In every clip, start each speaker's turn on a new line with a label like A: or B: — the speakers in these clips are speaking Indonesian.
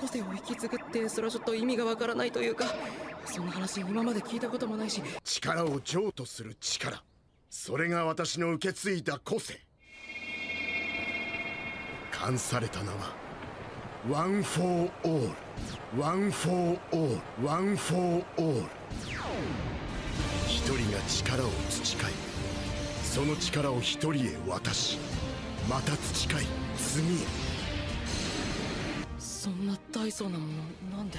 A: 個性を引き継ぐってそれはちょっと意味がわからないというかそんな話今まで聞いたこともないし
B: 力を譲渡する力それが私の受け継いだ個性冠された名はワン・フォー・オールワン・フォー・オールワン・フォー・オール一人が力を培いその力を一人へ渡しまた培い次へ
A: そんな大層なものなんで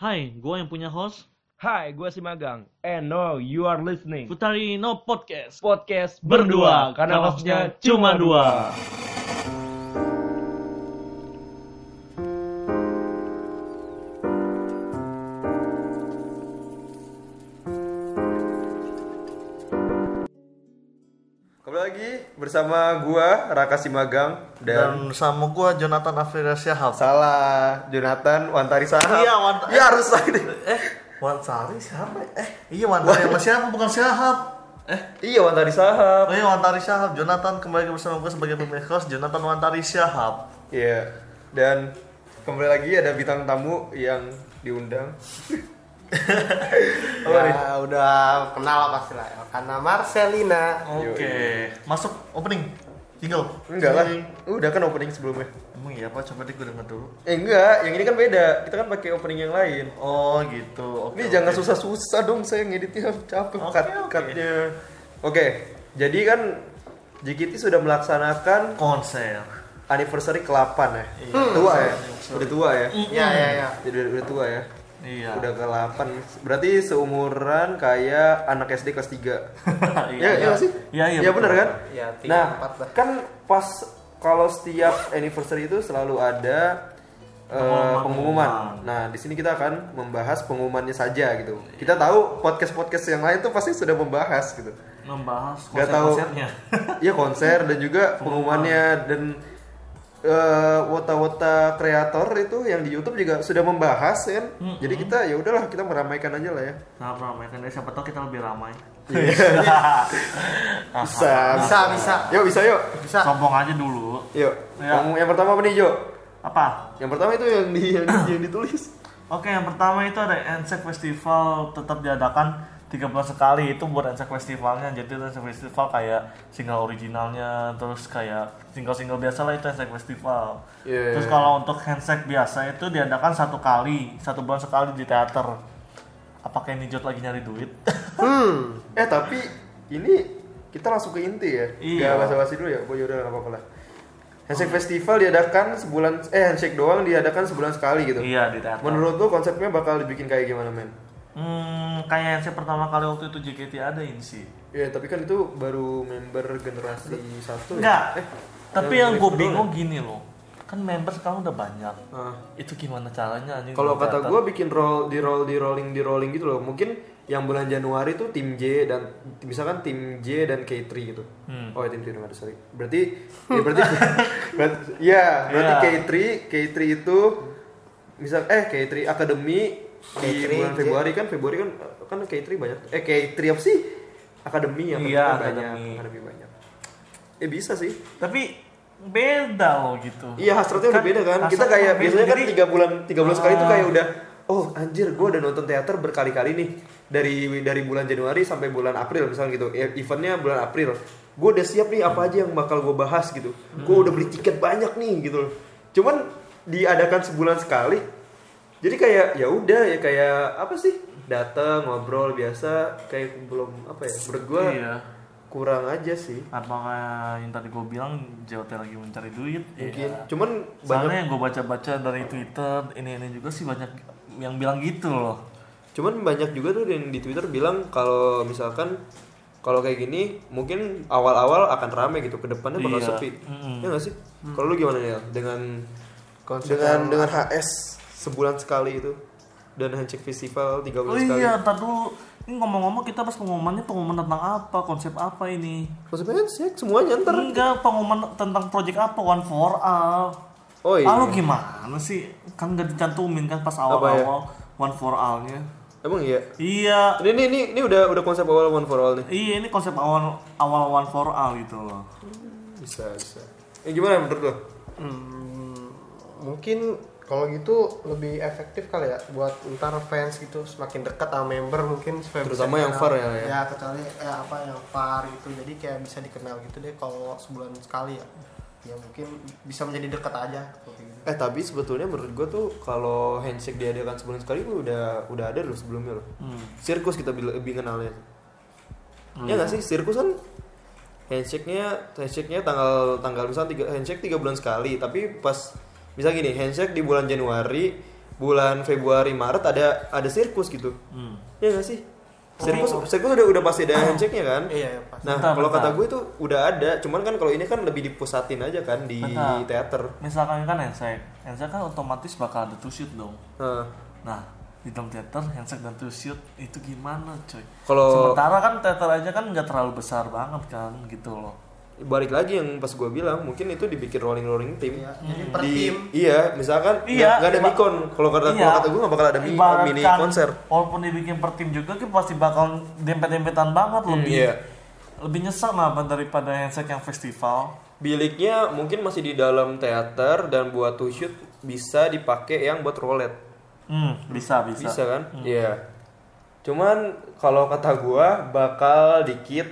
C: Hai, gue yang punya host
D: Hai, gue si Magang. And no, you are listening.
C: Futarino Podcast
D: Podcast
C: Berdua,
D: berdua,
C: karena
D: karena
C: maksudnya
D: maksudnya
C: cuma
D: cuma
C: dua.
D: dua.
E: Kembali lagi bersama gua Raka Simagang dan,
F: dan sama gua Jonathan Afrira Syahab
E: salah Jonathan Wantari Sahab.
F: Iya, Wantari.
E: Ya harus tadi.
F: eh Wansari siapa eh iya Wantari sama siapa bukan Syahab eh
E: Iya Wantari Sahab.
F: oh iya Wantari Syahab Jonathan kembali lagi bersama gua sebagai pemilik host Jonathan Wantari Syahab
E: Iya. Dan kembali lagi ada bintang tamu yang diundang.
G: Ya, udah kenal lah pasti lah karena Marcelina
C: Oke
F: masuk opening jingle
E: Enggak lah. Udah kan opening sebelumnya.
F: emang iya apa coba deh gua denger dulu
E: Eh enggak, yang ini kan beda. Kita kan pakai opening yang lain.
F: oh gitu oke
E: Ini
F: oke.
E: jangan susah-susah dong saya ngeditnya capek
F: Oke,
E: cut
F: oke.
E: cutnya. Oke, jadi kan JKT sudah melaksanakan
F: konser
E: anniversary ke-8 ya.
F: Iya.
E: Tua ya. Udah tua ya.
G: ya ya ya
E: Jadi udah, udah tua ya.
F: iya
E: Udah ke 8. Berarti seumuran kayak anak SD kelas 3.
F: iya
E: iya sih?
F: iya iya
E: ya benar
F: betul.
E: kan?
G: Iya, tiga,
E: nah,
G: empat lah.
E: kan pas kalau setiap anniversary itu selalu ada eh,
C: Pengumuman.
E: pengumuman. Nah, di sini kita akan membahas pengumumannya saja gitu. Kita tahu podcast-podcast yang lain tuh pasti sudah membahas gitu.
C: Membahas
E: Gak tahu.
C: konser-konsernya
E: Iya konser dan juga pengumumannya dan eh, wota-wota kreator itu yang di YouTube juga sudah membahas kan. Jadi kita ya udahlah kita meramaikan aja lah ya.
C: Nah, ramai kan dari siapa tau kita lebih ramai
E: Iya. Bisa,
G: bisa bisa
E: Yuk bisa yuk.
G: bisa Ya.
C: Sombong aja dulu
E: Yuk.
C: Iya.
E: Yang, yang pertama apa nih Jo?
C: Apa?
E: Yang pertama itu yang di yang, di- yang ditulis.
F: Oke, yang pertama itu ada Ensek Festival tetap diadakan 3 bulan sekali itu buat Ensek Festivalnya. Jadi itu Ensek Festival kayak single originalnya, terus kayak single-single biasa lah itu Ensek Festival.
E: Iya,
F: Terus
E: iya.
F: kalau untuk Ensek biasa itu diadakan satu kali, satu bulan sekali di teater. Apakah ini Jod lagi nyari duit?
E: Eh tapi ini kita langsung ke inti ya.
F: Iya.
E: Gak basa-basi dulu ya. Boy udah nggak apa-apa lah. Handshake Festival diadakan sebulan eh handshake doang diadakan sebulan sekali gitu.
F: iya, di teater.
E: Menurut lu konsepnya bakal dibikin kayak gimana men?
F: Hmm, kayak Ensek pertama kali waktu itu JKT ada E ini sih.
E: Ya, tapi kan itu baru member generasi satu. Ya?
F: Enggak.
E: Eh,
F: Tapi
E: yang
F: yang gue
E: Blackstone
F: bingung gini loh. Kan member sekarang udah banyak.
E: Ah.
F: Itu gimana caranya anjing?
E: kalau
F: di
E: kata
F: teater?
E: gue bikin roll di roll di rolling di rolling gitu loh. Mungkin yang bulan Januari tuh tim J dan misalkan tim J dan K3 gitu.
F: Hmm.
E: Oh, ya, tim J nggak ada, sorry. Berarti ya berarti berarti- ya, berarti
F: Iya.
E: K3 K3 itu misal eh K3 Academy di
G: K3,
E: bulan
G: J.
E: Februari kan Februari kan kan K3 banyak. Eh K3 apa sih? Akademi Academy
F: Iya,
E: kan banyak,
F: Academy.
E: Academy banyak. Eh bisa sih.
F: tapi beda loh gitu
E: Iya hasratnya udah
F: Kan,
E: beda kan. Kita
F: hasratnya
E: kayak
F: beda,
E: biasanya kan
F: jadi- Ah.
E: tiga bulan tiga bulan sekali itu kayak udah oh anjir gue udah nonton teater berkali-kali nih dari dari bulan Januari sampai bulan April misalnya gitu. E- Eventnya bulan April. Gue udah siap nih apa aja yang bakal gue bahas gitu. Gue udah beli tiket banyak nih gitu loh. Cuman diadakan sebulan sekali. Jadi kayak ya udah ya kayak apa sih? Datang ngobrol biasa kayak belum apa ya? Menurut gue
F: iya
E: kurang aja sih.
F: apakah yang tadi gue bilang JOT lagi mencari duit
E: Mungkin.
F: Iya.
E: Cuman banyak
F: soalnya yang gue baca-baca dari Twitter ini ini juga sih banyak yang bilang gitu loh
E: Cuman banyak juga tuh yang di Twitter bilang kalau misalkan kalau kayak gini mungkin awal-awal akan rame gitu, kedepannya bakal
F: Iya.
E: sepi.
F: Mm-mm.
E: Ya nggak sih? Kalau lu gimana ya dengan
G: Konsep
E: dengan
G: yang-
E: dengan HS sebulan sekali itu dan handshake festival tiga
F: oh
E: bulan sekali.
F: iya ntar dulu ini ngomong-ngomong kita pas pengumumannya pengumuman tentang apa konsep apa ini
E: Maksudnya handshake semuanya ntar.
F: enggak pengumuman tentang project apa one for all
E: Oh iya. ya?
F: Ah, lu gimana sih kan gak dicantumin kan pas awal-awal one for all nya
E: Emang iya.
F: Iya,
E: Ini ini ini, ini udah udah konsep awal one for all nih.
F: iya ini konsep awal awal one for all gitu loh.
E: Bisa bisa. Eh, gimana menurut lo?
G: Hmm, mungkin kalau gitu lebih efektif kali ya buat ntar fans gitu semakin dekat sama member mungkin supaya bisa
E: Terutama yang
G: dikenal.
E: VAR ya, ya.
G: ya kecuali ya apa yang far itu jadi kayak bisa dikenal gitu deh kalau sebulan sekali ya ya mungkin bisa menjadi dekat aja kayak gitu.
E: Eh tapi sebetulnya menurut gue tuh kalau handshake diadakan sebulan sekali gua udah udah ada loh sebelumnya loh.
G: Hmm.
E: Sirkus kita bil- lebih kenalnya. Ya nggak sih sirkus kan handshake-nya handshake-nya tanggal tanggal misalnya tiga, handshake tiga bulan sekali tapi pas misal gini handshake di bulan Januari bulan Februari Maret ada ada sirkus gitu.
G: Hmm.
E: Ya nggak sih? Sirkus, sirkus udah udah pasti ada handshake-nya kan?
G: Oh. iya ya pasti
E: Nah,
F: Bentar,
E: kalau
F: bentar.
E: kata gue itu udah ada, cuman kan kalau ini kan lebih dipusatin aja kan di
F: Bentar.
E: teater.
F: Misalkan kan handshake, handshake kan otomatis bakal ada two shoot dong.
E: Nah,
F: Nah, di dalam teater handshake dan two shoot itu gimana coy?
E: kalau
F: Sementara kan teater aja kan nggak terlalu besar banget kan gitu loh.
E: balik lagi yang pas gue bilang, mungkin itu dibikin rolling rolling tim.
G: Iya, jadi per
E: Di-
G: tim
E: Iya, misalkan
F: Iya,
E: nggak nggak ada
F: iba-
E: mikon. Kalau kata kalau kata gue nggak bakal ada mi-
F: Iya. Ibaratkan,
E: mini konser.
F: Walaupun dibikin per tim juga, kita pasti bakal dempet-dempetan banget lebih.
E: iya.
F: Lebih nyesek lah Bang, daripada handshake yang festival.
E: Biliknya mungkin masih di dalam teater dan buat to shoot bisa dipakai yang buat roulette.
F: Hmm, bisa bisa. Hmm.
E: Bisa kan? Iya. Cuman kalau kata gua bakal dikit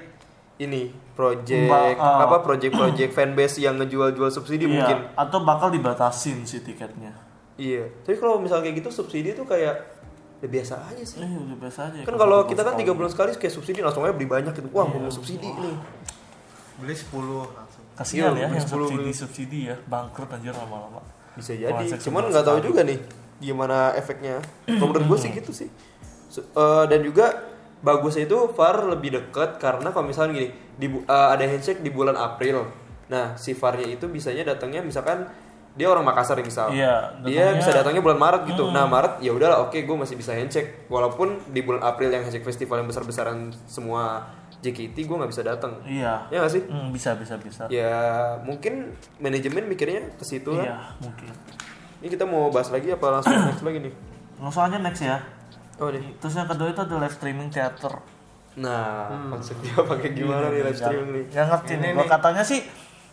E: ini project
F: Ba- ah.
E: apa project-project fanbase yang ngejual-jual subsidi
F: Iya,
E: mungkin.
F: Atau bakal dibatasin sih tiketnya.
E: Iya. Tapi kalau misalnya kayak gitu subsidi tuh kayak ya biasa aja sih.
F: Eh, udah biasa aja.
E: Kan kalau kita kan tiga bulan sekali kayak subsidi langsung aja beli banyak gitu. Wah, mau subsidi nih.
G: beli 10 langsung
F: Kasihan
E: Iya,
F: ya yang
E: sepuluh beli.
F: subsidi subsidi ya bangkrut anjir lama-lama.
E: Bisa
F: Wah,
E: jadi.
F: cek
E: Cuman
F: sebulan
E: nggak tahu
F: sekali.
E: juga nih gimana efeknya. Kalau menurut gue sih gitu sih. So- eh, dan juga bagusnya itu VAR lebih dekat karena kalau misalnya gini, di bu- eh, ada handshake di bulan April. Nah, si VAR-nya itu bisanya datangnya misalkan dia orang Makassar nih, misal.
F: Iya,
E: dia
F: datangnya-
E: bisa datangnya bulan Maret gitu. Nah, Maret ya udahlah oke gue masih bisa handshake walaupun di bulan April yang handshake festival yang besar-besaran semua JKT gue nggak bisa datang.
F: Iya.
E: Ya nggak sih?
F: Hmm, bisa bisa bisa.
E: Ya mungkin manajemen mikirnya ke situ kan.
F: Iya, mungkin.
E: Ini kita mau bahas lagi apa langsung next lagi nih?
F: Langsung aja next ya.
E: Oh nih.
F: Terus yang kedua itu ada live streaming teater.
E: Nah,
F: Hmm.
E: konsepnya pakai
F: Iya,
E: gimana nih live streaming nih?
F: Yang ngerti nih, gua katanya sih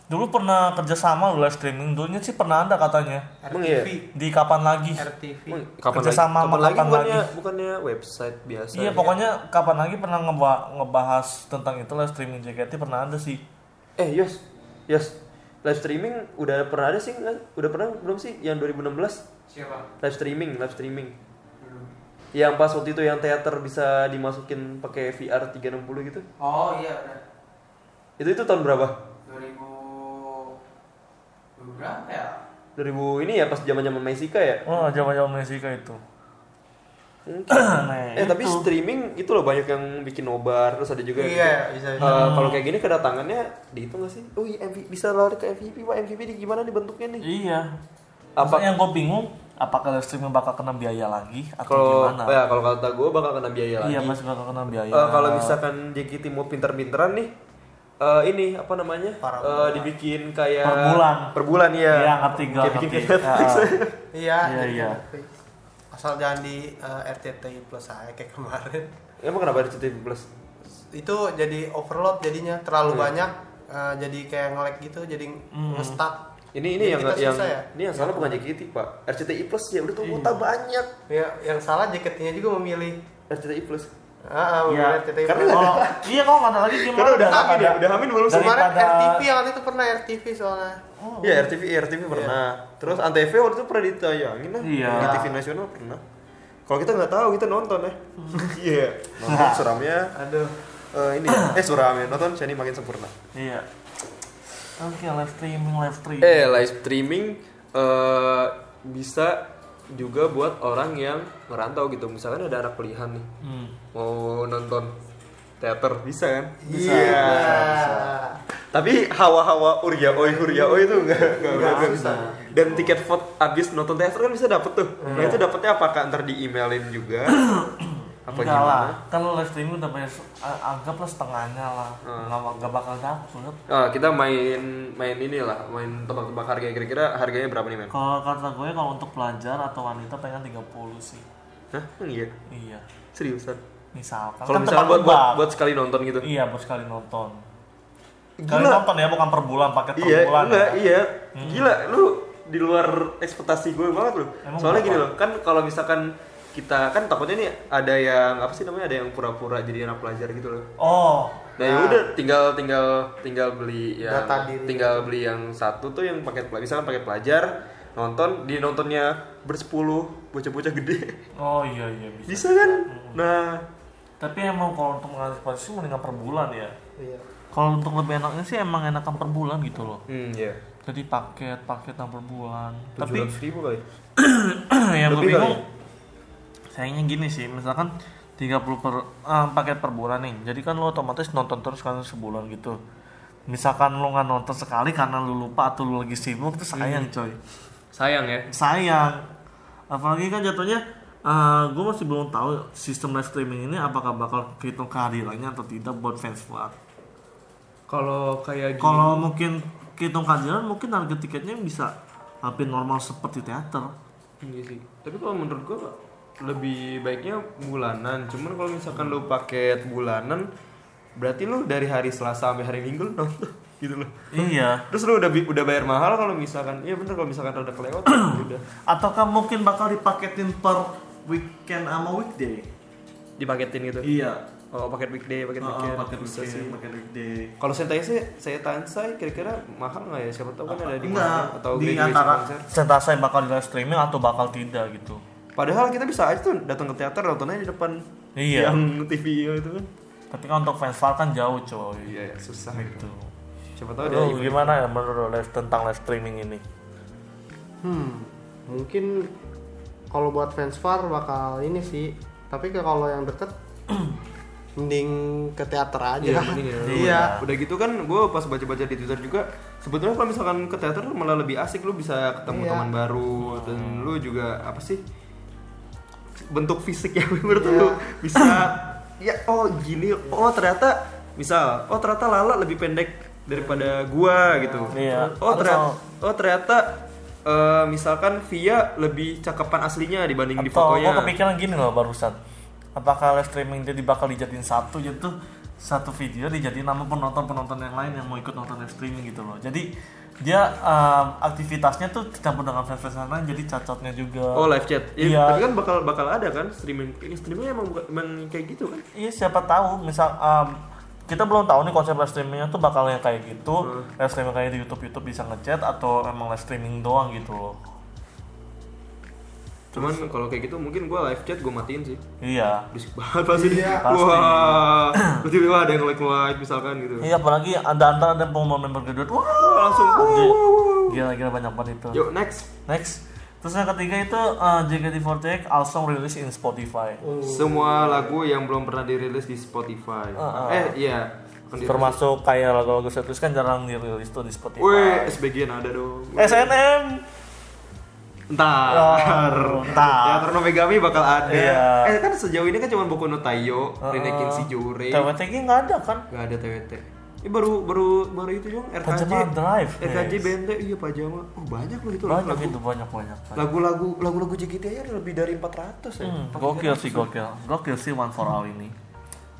F: dulu pernah kerja sama lo live streaming dulunya sih pernah ada katanya
E: Emang iya?
F: di kapan lagi
G: RTV
E: Emang kapan lagi?
F: Kerjasama
E: kapan
F: sama
E: lagi
F: kapan
E: bukannya bukannya website biasa?
F: iya pokoknya kapan lagi pernah ngeba- ngebahas tentang itu live streaming JKT pernah ada sih
E: Eh, Yos. Yos. Live streaming udah pernah ada sih nggak? Udah pernah belum sih yang 2016?
G: siapa
E: Live streaming, live streaming. Yang pas waktu itu yang teater bisa dimasukin pakai VR 360 gitu.
G: oh iya udah
E: Itu itu tahun berapa?
G: 2000 berapa ya
E: 2000 ini ya pas zaman-zaman Mesika ya.
F: oh zaman zaman Meksika itu
E: Mungkin.
F: nah,
E: eh tapi streaming itu loh banyak yang bikin nobar terus ada juga yang
G: Gitu. Iya,
E: bikin,
G: bisa,
E: eh,
G: bisa.
E: kalau kayak gini kedatangannya dihitung gak sih? Oh iya MVP, bisa lari ke MVP pak MVP ini gimana nih bentuknya nih?
F: iya
E: Apa-
F: apa yang gue bingung apakah live streaming bakal kena biaya lagi atau
E: Kalau
F: gimana
E: ya kalau kata gue bakal kena biaya lagi.
F: iya masih bakal kena biaya
E: Eh, kalau misalkan JKT mau pinter-pinteran nih eh, ini apa namanya? Eh, dibikin kayak
F: Per bulan.
E: Per bulan ya.
F: iya ngerti gua,
E: Kayak bikin
F: ngerti
E: kayak Netflix.
F: Ah.
G: iya
F: Iya,
G: jadi
F: iya.
G: RTV. asal jangan di eh, RCTI plus saya kayak kemarin
E: Emang kenapa ada CTV Plus?
G: itu jadi overload jadinya terlalu banyak eh, jadi kayak nge-lag gitu jadi nge-stuck
E: Ini ini
G: Jadi
E: yang
G: kita
E: yang
G: susah ya? Iya.
E: ini yang salah bukan JKT pak. RCTI Plus ya udah tuh kuota banyak.
G: ya yang salah jaketnya juga memilih
E: RCTI Plus.
G: ah ah, memilih
F: Iya,
G: RCTI
E: karena
G: plus.
F: Kalau- iya kalau nggak ada lagi gimana
E: Karena udah hamin ya, udah hamin belum sih?
G: Oh, kemarin
F: daripada-
G: RTV yang waktu itu pernah RTV soalnya
E: Iya RTV, iya, RTV pernah. Terus Antv waktu itu pernah ditayangin lah.
F: Iya.
E: Di TV nasional pernah. Kalau kita nggak tahu kita nonton ya. Iya. Nonton suramnya.
G: aduh
E: eh, ini ya. eh suramnya nonton Shani makin sempurna.
F: Iya. Oke, live streaming, live streaming.
E: Eh live streaming eh, bisa juga buat orang yang merantau gitu. Misalkan ada anak pilihan nih
F: Hmm.
E: mau nonton teater bisa kan?
G: Bisa,
E: Tapi hawa-hawa Urya Oi Urya Oi itu enggak enggak enggak bisa. Dan tiket vote abis nonton teater kan bisa dapet tuh. Nah
G: Iya.
E: itu dapetnya apakah ntar di emailin juga? apa
F: Enggak
E: gimana?
F: lah, kan lo live streaming udah banyak, eh, anggaplah setengahnya lah.
E: Hmm.
F: Nggak, nggak bakal dapet.
E: Ah, kita main main inilah, main tebak-tebak harga kira-kira harganya berapa nih men?
F: Kalau kata gue, kalau untuk pelajar atau wanita pengen 30 sih.
E: Hah? Emang Iya.
F: Iya.
E: Seriusan.
F: Misalkan.
E: Kalau
F: Kan
E: misalnya
F: tempat
E: buat, buat,
F: lembab.
E: buat sekali nonton gitu.
F: Iya, buat sekali nonton. Sekali
E: Gila.
F: nonton ya, bukan per bulan, paket per
E: Iya,
F: bulan.
E: enggak,
F: ya.
E: iya. Gila, lu di luar ekspektasi gue banget lu.
F: Emang
E: Soalnya
F: kenapa?
E: gini loh, kan kalau misalkan kita kan takutnya nih ada yang apa sih namanya ada yang pura-pura jadi anak pelajar gitu loh.
F: Oh,
E: Nah, ya udah tinggal tinggal tinggal beli yang
G: Data diri.
E: tinggal beli yang satu tuh yang paket pelajar, misalkan paket pelajar nonton di nontonnya bersepuluh bocah-bocah gede
F: oh iya iya bisa.
E: bisa kan? Nah,
F: Tapi emang kalau untuk mengantisipasi sih mendingan per bulan ya.
G: Iya.
F: Kalau untuk lebih enaknya sih emang enakan per bulan gitu loh.
E: hmm ya.
F: Jadi paket paket per bulan. Tapi
E: 700 ribu kali.
F: Nah, yang gue
E: Lebih kali. ya?
F: bingung sayangnya gini sih misalkan 30 per ah, paket per bulan nih jadi kan lo otomatis nonton terus kan sebulan gitu misalkan lo nggak nonton sekali karena lo lupa atau lo lagi sibuk
E: Iya.
F: itu sayang coy
E: Sayang ya.
F: sayang apalagi kan jatuhnya gue masih belum tahu sistem live streaming ini apakah bakal kehitung kehadirannya atau tidak buat fans Flat.
E: Kalau kayak
F: Kalau mungkin kehitung kehadiran mungkin harga tiketnya bisa hampir normal seperti teater.
E: Iya sih. Tapi kalau menurut gua lebih baiknya bulanan. Cuman kalau misalkan lu paket bulanan, berarti lu dari hari Selasa sampai hari Minggu lu nonton gitu loh.
F: Iya.
E: Terus lu udah bi- udah bayar mahal kalau misalkan, iya bener kalau misalkan rada kelewat ya udah
F: ataukah mungkin bakal dipaketin per weekend sama weekday
E: dipaketin gitu.
F: iya
E: Oh, paket weekday, paket
F: Oh,
E: weekend.
F: paket
E: Bisa
F: weekday
E: sih.
F: paket weekday
E: Kalau sentai sih, saya tansai kira-kira mahal nggak ya? Siapa tahu kan ada di mana
F: enggak
E: atau
F: di
E: graduation
F: antara
E: concert.
F: sentasa yang bakal di live streaming atau bakal tidak gitu
E: Padahal kita bisa aja tuh datang ke teater nonton aja di depan
F: Iya.
E: yang TV itu kan.
F: tapi kan untuk fans Far kan jauh coy
E: Iya, susah
F: gitu
E: gitu. Siapa tahu ada
F: Lu gimana ya menurut lo live- tentang live streaming ini
G: Hmm, mungkin kalau buat fans far bakal ini sih. Tapi ke- kalau yang deket mending ke teater aja.
E: Iya, mending ya.
G: Iya.
E: Udah gitu kan gue pas baca-baca di Twitter juga sebetulnya kalau misalkan ke teater malah lebih asik lu bisa ketemu
G: Iya.
E: teman baru dan lu juga apa sih bentuk fisik yang menurut lu bisa Iya. ya oh gini oh ternyata misal oh ternyata Lala lebih pendek daripada gua gitu.
F: Iya.
E: Oh ternyata
F: Atau-
E: oh ternyata eh, misalkan Via lebih cakepan aslinya dibanding Iya, di
F: atau
E: fotonya.
F: gue kepikiran gini loh barusan apakah live streaming jadi bakal dijadiin satu gitu satu video dijadiin nama penonton-penonton yang lain yang mau ikut nonton live streaming gitu loh jadi dia um, aktivitasnya tuh dicampur dengan fans-fans yang lain jadi cacatnya juga
E: Oh live chat. Ya,
F: Iya.
E: Tapi kan bakal bakal ada kan streaming streamingnya emang bukan- emang kayak gitu kan.
F: iya siapa tahu misal um, kita belum tahu nih konsep live streamingnya tuh bakal yang kayak gitu
E: Hmm.
F: live streaming kayak di YouTube YouTube bisa ngechat atau emang live streaming doang gitu loh
E: Cuman kalau kayak gitu mungkin gua live chat gua matiin sih.
F: iya
E: Berisik banget pasti.
F: pasti.
E: Wah. Tiba-tiba ada yang like like misalkan gitu.
F: iya apalagi ada antara dan pengumuman member graduate wah
E: Wah, langsung. wah, wah, wah.
F: gila-gila banyak banget itu
E: Yuk next.
F: Next. Terus yang ketiga itu uh, JKT48 also rilis in Spotify.
G: Oh,
E: Semua lagu yang belum pernah dirilis di Spotify.
F: Ah, ah.
E: Eh iya. Akan dirilis.
F: Termasuk kayak lagu-lagu setlist kan jarang dirilis tuh di Spotify.
E: Wih, SBG ada dong.
F: SNM.
E: Ntar.
F: Oh, ntar.
E: Teater no Megami bakal ada.
F: Iya. Ah,
E: Eh kan sejauh ini kan cuma Boku no Taiyo, Renekin
F: Eh,
E: Shijure.
F: TWTG nggak ada kan?
E: Gak ada TWT. Ini Eh, baru baru baru itu dong RKJ.
F: Pajama Drive.
E: RKJ
F: guys.
E: Bente iya pajama. Oh banyak loh itu loh,
F: Banyak
E: lagu.
F: itu kan. banyak banyak. banyak.
E: Lagu-lagu lagu-lagu JKT aja ada lebih dari 400 ya.
F: Hmm, gokil sih gokil. Gokil sih One for All ini.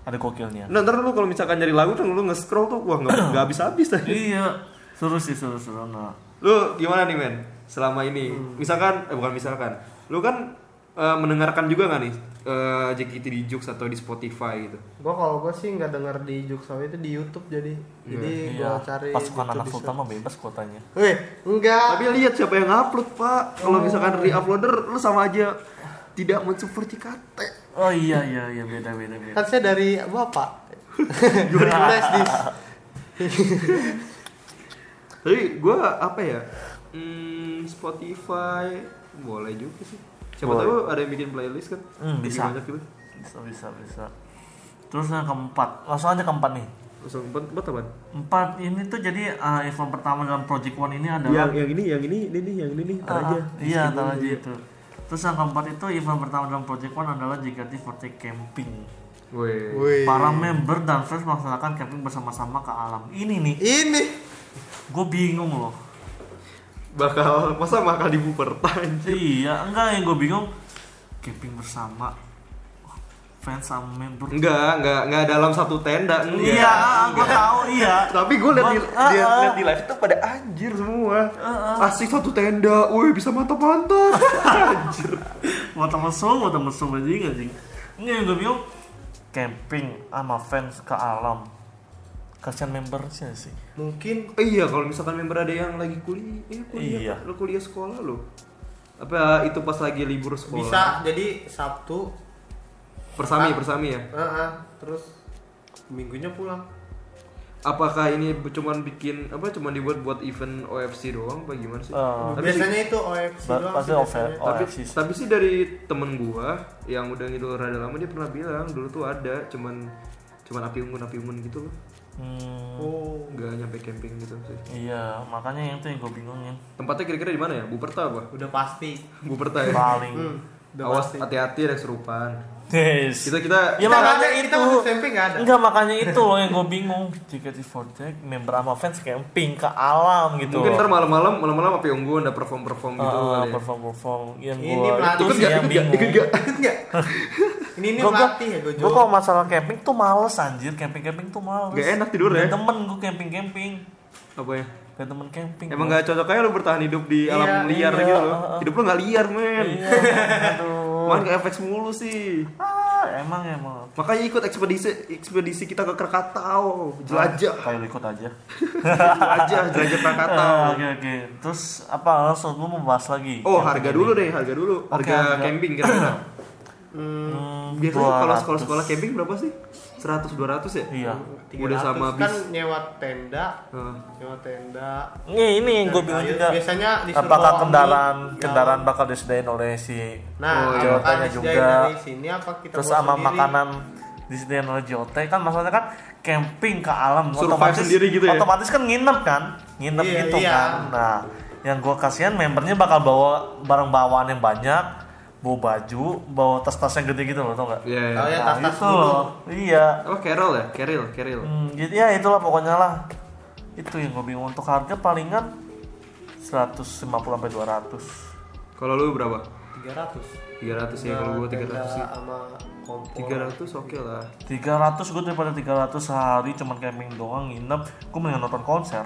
F: Ada gokilnya.
E: Nah, ntar lu kalau misalkan nyari lagu tuh lu nge-scroll tuh wah nggak nggak habis-habis tadi.
F: iya. Seru sih seru seru. Nah.
E: Lu gimana nih men? Selama ini
F: Hmm.
E: misalkan eh bukan misalkan. Lu kan eh, mendengarkan juga nggak nih eh, JKT di Jux atau di Spotify gitu.
G: Gua kalau gua sih nggak denger di Juksaw itu di YouTube jadi. Jadi gua
F: Iya.
G: cari
F: Pasukan
G: YouTube
F: anak
G: di
F: sultan mah bebas kuotanya.
G: search. Weh, enggak.
E: Tapi lihat siapa yang upload, Pak.
F: Oh.
E: Kalau misalkan re-uploader lu sama aja tidak mensupport JKT.
F: Oh iya iya iya beda beda beda.
G: Kan saya dari Bapak. Dari Les Dis.
E: Tapi gue apa ya? Hmm, Spotify boleh juga sih. Siapa
F: Boleh.
E: tahu ada yang bikin playlist kan?
F: Hmm,
E: Jadi
F: bisa.
E: Banyak gitu.
F: bisa bisa bisa terus yang keempat langsung aja keempat nih
E: Langsung empat empat apaan?
F: empat ini tuh jadi uh, event pertama dalam project one ini
E: Yang yang
F: adalah
E: ini, yang ini, ini nih, yang ini nih, Iya, ntar
F: Ah,
E: aja.
F: iya ntar aja itu terus yang keempat itu event pertama dalam project one adalah JKT48 camping
E: Weh.
G: Wih.
F: para member dan fans melaksanakan camping bersama-sama ke alam ini nih
G: Ini.
F: gue bingung loh
E: Bakal masa bakal dibuper anjir.
F: iya enggak yang gue bingung camping bersama fans sama member
E: Enggak, enggak, enggak dalam satu tenda. Enggak.
F: iya gue tahu iya
E: Tapi gue liat di,
F: Bang, ah,
E: liat-
F: ah.
E: liat di live itu pada anjir semua. Asik satu tenda, woi bisa mantap-mantap. anjir.
F: mata mesum mata mesum anjing anjing ini yang gue bilang camping sama fans ke alam kasihan membernya sih
E: Mungkin eh, iya kalau misalkan member ada yang lagi kuliah, eh, kuliah,
F: Iya.
E: lo kuliah sekolah lo. Apa itu pas lagi libur sekolah?
G: Bisa jadi Sabtu,
E: Persami, persami ya.
G: ah terus minggunya pulang.
E: Apakah ini cuman bikin apa cuman dibuat buat event OFC doang apa gimana sih?
F: Eh,
E: Tapi sih-
G: biasanya itu OFC
F: Ba-
G: doang.
F: pasti
G: sih
F: OFC.
G: biasanya.
F: Oh,
E: tapi,
F: FC sih.
E: tapi sih dari temen gua yang udah gitu rada lama dia pernah bilang dulu tuh ada cuman cuman api unggun api unggun gitu loh
F: hmm,
G: Oh,
E: nggak nyampe camping gitu sih
F: iya makanya yang tuh yang gue bingungin
E: tempatnya kira-kira di mana ya Buperta apa
G: udah pasti.
E: Buperta ya
G: Hmm.
F: paling
G: Udah
E: awas
G: pasti.
E: hati-hati ada kesurupan
F: Yes.
E: kita kita
F: Ya
G: Kita
F: makanya
G: nggak ada-
F: itu.
G: kita masuk camping nggak ada.
F: Enggak makanya itu loh yang gue bingung. JKT48 member sama fans camping ke alam gitu.
E: mungkin
F: loh.
E: ntar malam-malam malam-malam api unggun ada perform perform
F: Ah,
E: gitu
F: ah,
E: kali ya.
F: perform perform yang
G: Ini
F: gue
G: pelatih.
F: itu
G: Ikut
F: sih
G: nggak,
F: yang bingung.
E: ikut nggak?
G: Ikut nggak? Ini ini
F: Gua- gua-
G: melatih ya Gojo.
F: Gue kalau masalah camping tuh males anjir, camping-camping tuh males.
E: Nggak enak tidur ya?
F: Nggak Temen gue camping-camping.
E: apa ya
F: Gak temen camping.
E: emang
F: gua.
E: nggak cocok aja lo bertahan hidup di
G: Iya,
E: alam liar
F: iya,
E: gitu loh
F: ah, ah.
E: hidup lo nggak liar men
F: Iya, aduh.
E: main ke FX mulu sih
F: Ah, emang emang.
E: makanya ikut ekspedisi ekspedisi kita ke Krakatau jelajah
F: Kayak lu ikut aja.
E: jelajah Gitu jelajah Krakatau
F: Ah, Oke oke. Terus apa langsung lu mau bahas lagi?
E: oh harga dulu deh harga dulu harga
F: harga.
E: camping kira-kira
F: Hmm,
E: biasanya kalau
F: 200.
E: sekolah-sekolah camping berapa sih 100 200 ya
F: Iya.
G: 300
E: udah sama
G: kan
E: bis Ah.
G: nyewa tenda,
E: Heeh.
G: nyewa tenda.
F: Ini ini yang gue
G: Dan
F: bilang
G: ayo,
F: juga.
G: Biasanya disuruh
F: apakah
G: bawa
F: kendaraan
G: mie,
F: kendaraan
G: gaun.
F: bakal disediain oleh si
G: Nah,
F: oh,
G: apakah
F: Jotanya
G: disediain
F: juga
G: dari sini apa kita
F: terus
G: bawa
F: sama
G: sendiri?
F: makanan disediain oleh Jote kan maksudnya kan camping ke alam
E: Survive sendiri gitu ya?
F: otomatis kan nginep kan nginep
G: Iya,
F: gitu
G: iya.
F: kan nah yang gue kasihan membernya bakal bawa barang bawaan yang banyak bawa baju bawa tas-tas yang gede gitu loh tau gak
E: Iya, iya.
G: Oh ya,
F: Nah,
G: tas-tas
F: itu
G: dulu.
F: loh iya
E: apa Carol ya Carol Carol
F: Hmm, jadi ya itulah pokoknya lah. Itu yang gue bingung untuk harga palingan 150 sampai 200.
E: kalau lu berapa
G: 300.
E: 300 ya kalau gua 300 sih
G: Nah, Tenda sama kompor.
E: 300 oke lah
F: 300 gue daripada 300 sehari cuman camping doang nginep, gue mendingan nonton konser.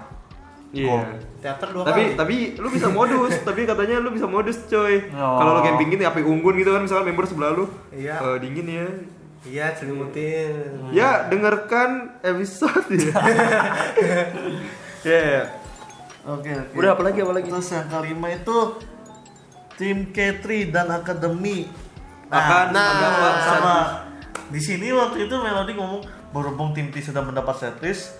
E: iya
G: Teater dua
E: tapi
G: kali.
E: tapi lu bisa modus tapi katanya lu bisa modus coy
F: Oh.
E: kalau lu camping gitu api unggun gitu kan misalkan member sebelah lu
G: Iya.
E: Eh, dingin ya
G: Iya, selimutin.
E: ya dengarkan episode ya ya ya.
F: Oke,
E: udah apa lagi apa lagi
F: Terus yang kelima itu tim K3 dan akademi.
E: akan
F: Nah,
E: nah,
F: sama di sini waktu itu Melody ngomong berhubung tim T sudah mendapat setlist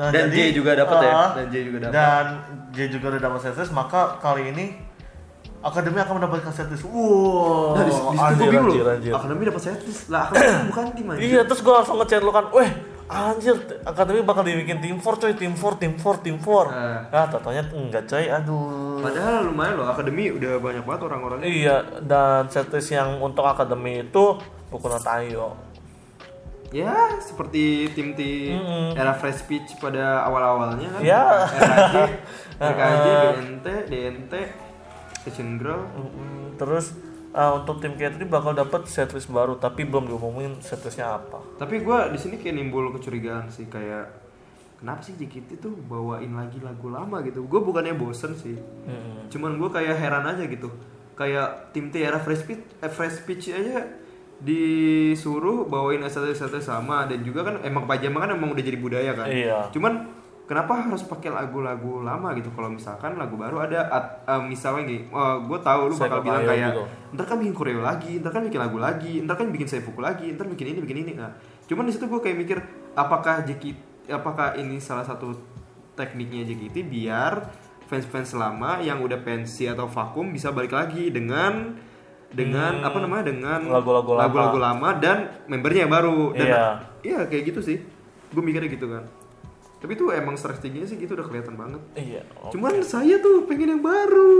F: nah,
E: Dan J juga dapat ya?
F: Ah,
E: Dan J juga dapat.
F: dan J juga udah dapat setlist maka kali ini Akademi akan mendapatkan setlist wow
E: Nah, di, di situ gue
F: Anjir,
E: bingung
F: anjir,
E: loh.
F: anjir.
E: Akademi dapat setlist. Lah, akademi kan bukan tim anjir.
F: iya terus gue langsung ngechat lu kan weh anjir Akademi bakal dibikin tim 4 coy tim 4 tim 4 tim 4
E: Ah.
F: nah tatonya enggak coy aduh
E: Padahal lumayan loh, akademi udah banyak banget orang-orangnya.
F: iya dan setlist yang untuk Akademi itu Boku no Tayo
E: Ya, seperti tim tim
F: Mm-mm.
E: era fresh speech pada awal-awalnya kan.
F: Ya.
E: RAJ, RKJ,
F: Heeh.
E: BNT, DNT, Session Girl.
F: Mm, Terus uh, untuk tim K3 bakal dapat setlist baru tapi belum diumumin setlistnya apa.
E: Tapi gue di sini kayak nimbul kecurigaan sih kayak kenapa sih JKT tuh bawain lagi lagu lama gitu. Gue bukannya bosen sih.
F: Mm.
E: cuman gue kayak heran aja gitu kayak tim T era fresh pitch eh, fresh pitch aja disuruh bawain ST-ST sama dan juga kan emang pajama kan emang udah jadi budaya kan
F: Iya.
E: cuman kenapa harus pakai lagu-lagu lama gitu kalau misalkan lagu baru ada at- eh, misalnya gini gue tahu lu
F: Saya
E: bakal
F: kebayang
E: bilang kayak
F: gitu.
E: ntar kan bikin koreo lagi ntar kan bikin lagu lagi ntar kan bikin saya pukul lagi ntar bikin ini bikin ini nah cuman di situ gue kayak mikir apakah JKT apakah ini salah satu tekniknya JKT biar fans-fans lama yang udah pensi atau vakum bisa balik lagi dengan dengan apa namanya dengan
F: Hmm. Lagu-lagu lama.
E: lagu-lagu lama. dan membernya yang baru dan
F: Iya.
E: iya kayak gitu sih gue mikirnya gitu kan tapi itu emang strateginya sih gitu udah kelihatan banget
F: Iya. oke.
E: cuman saya tuh pengen yang baru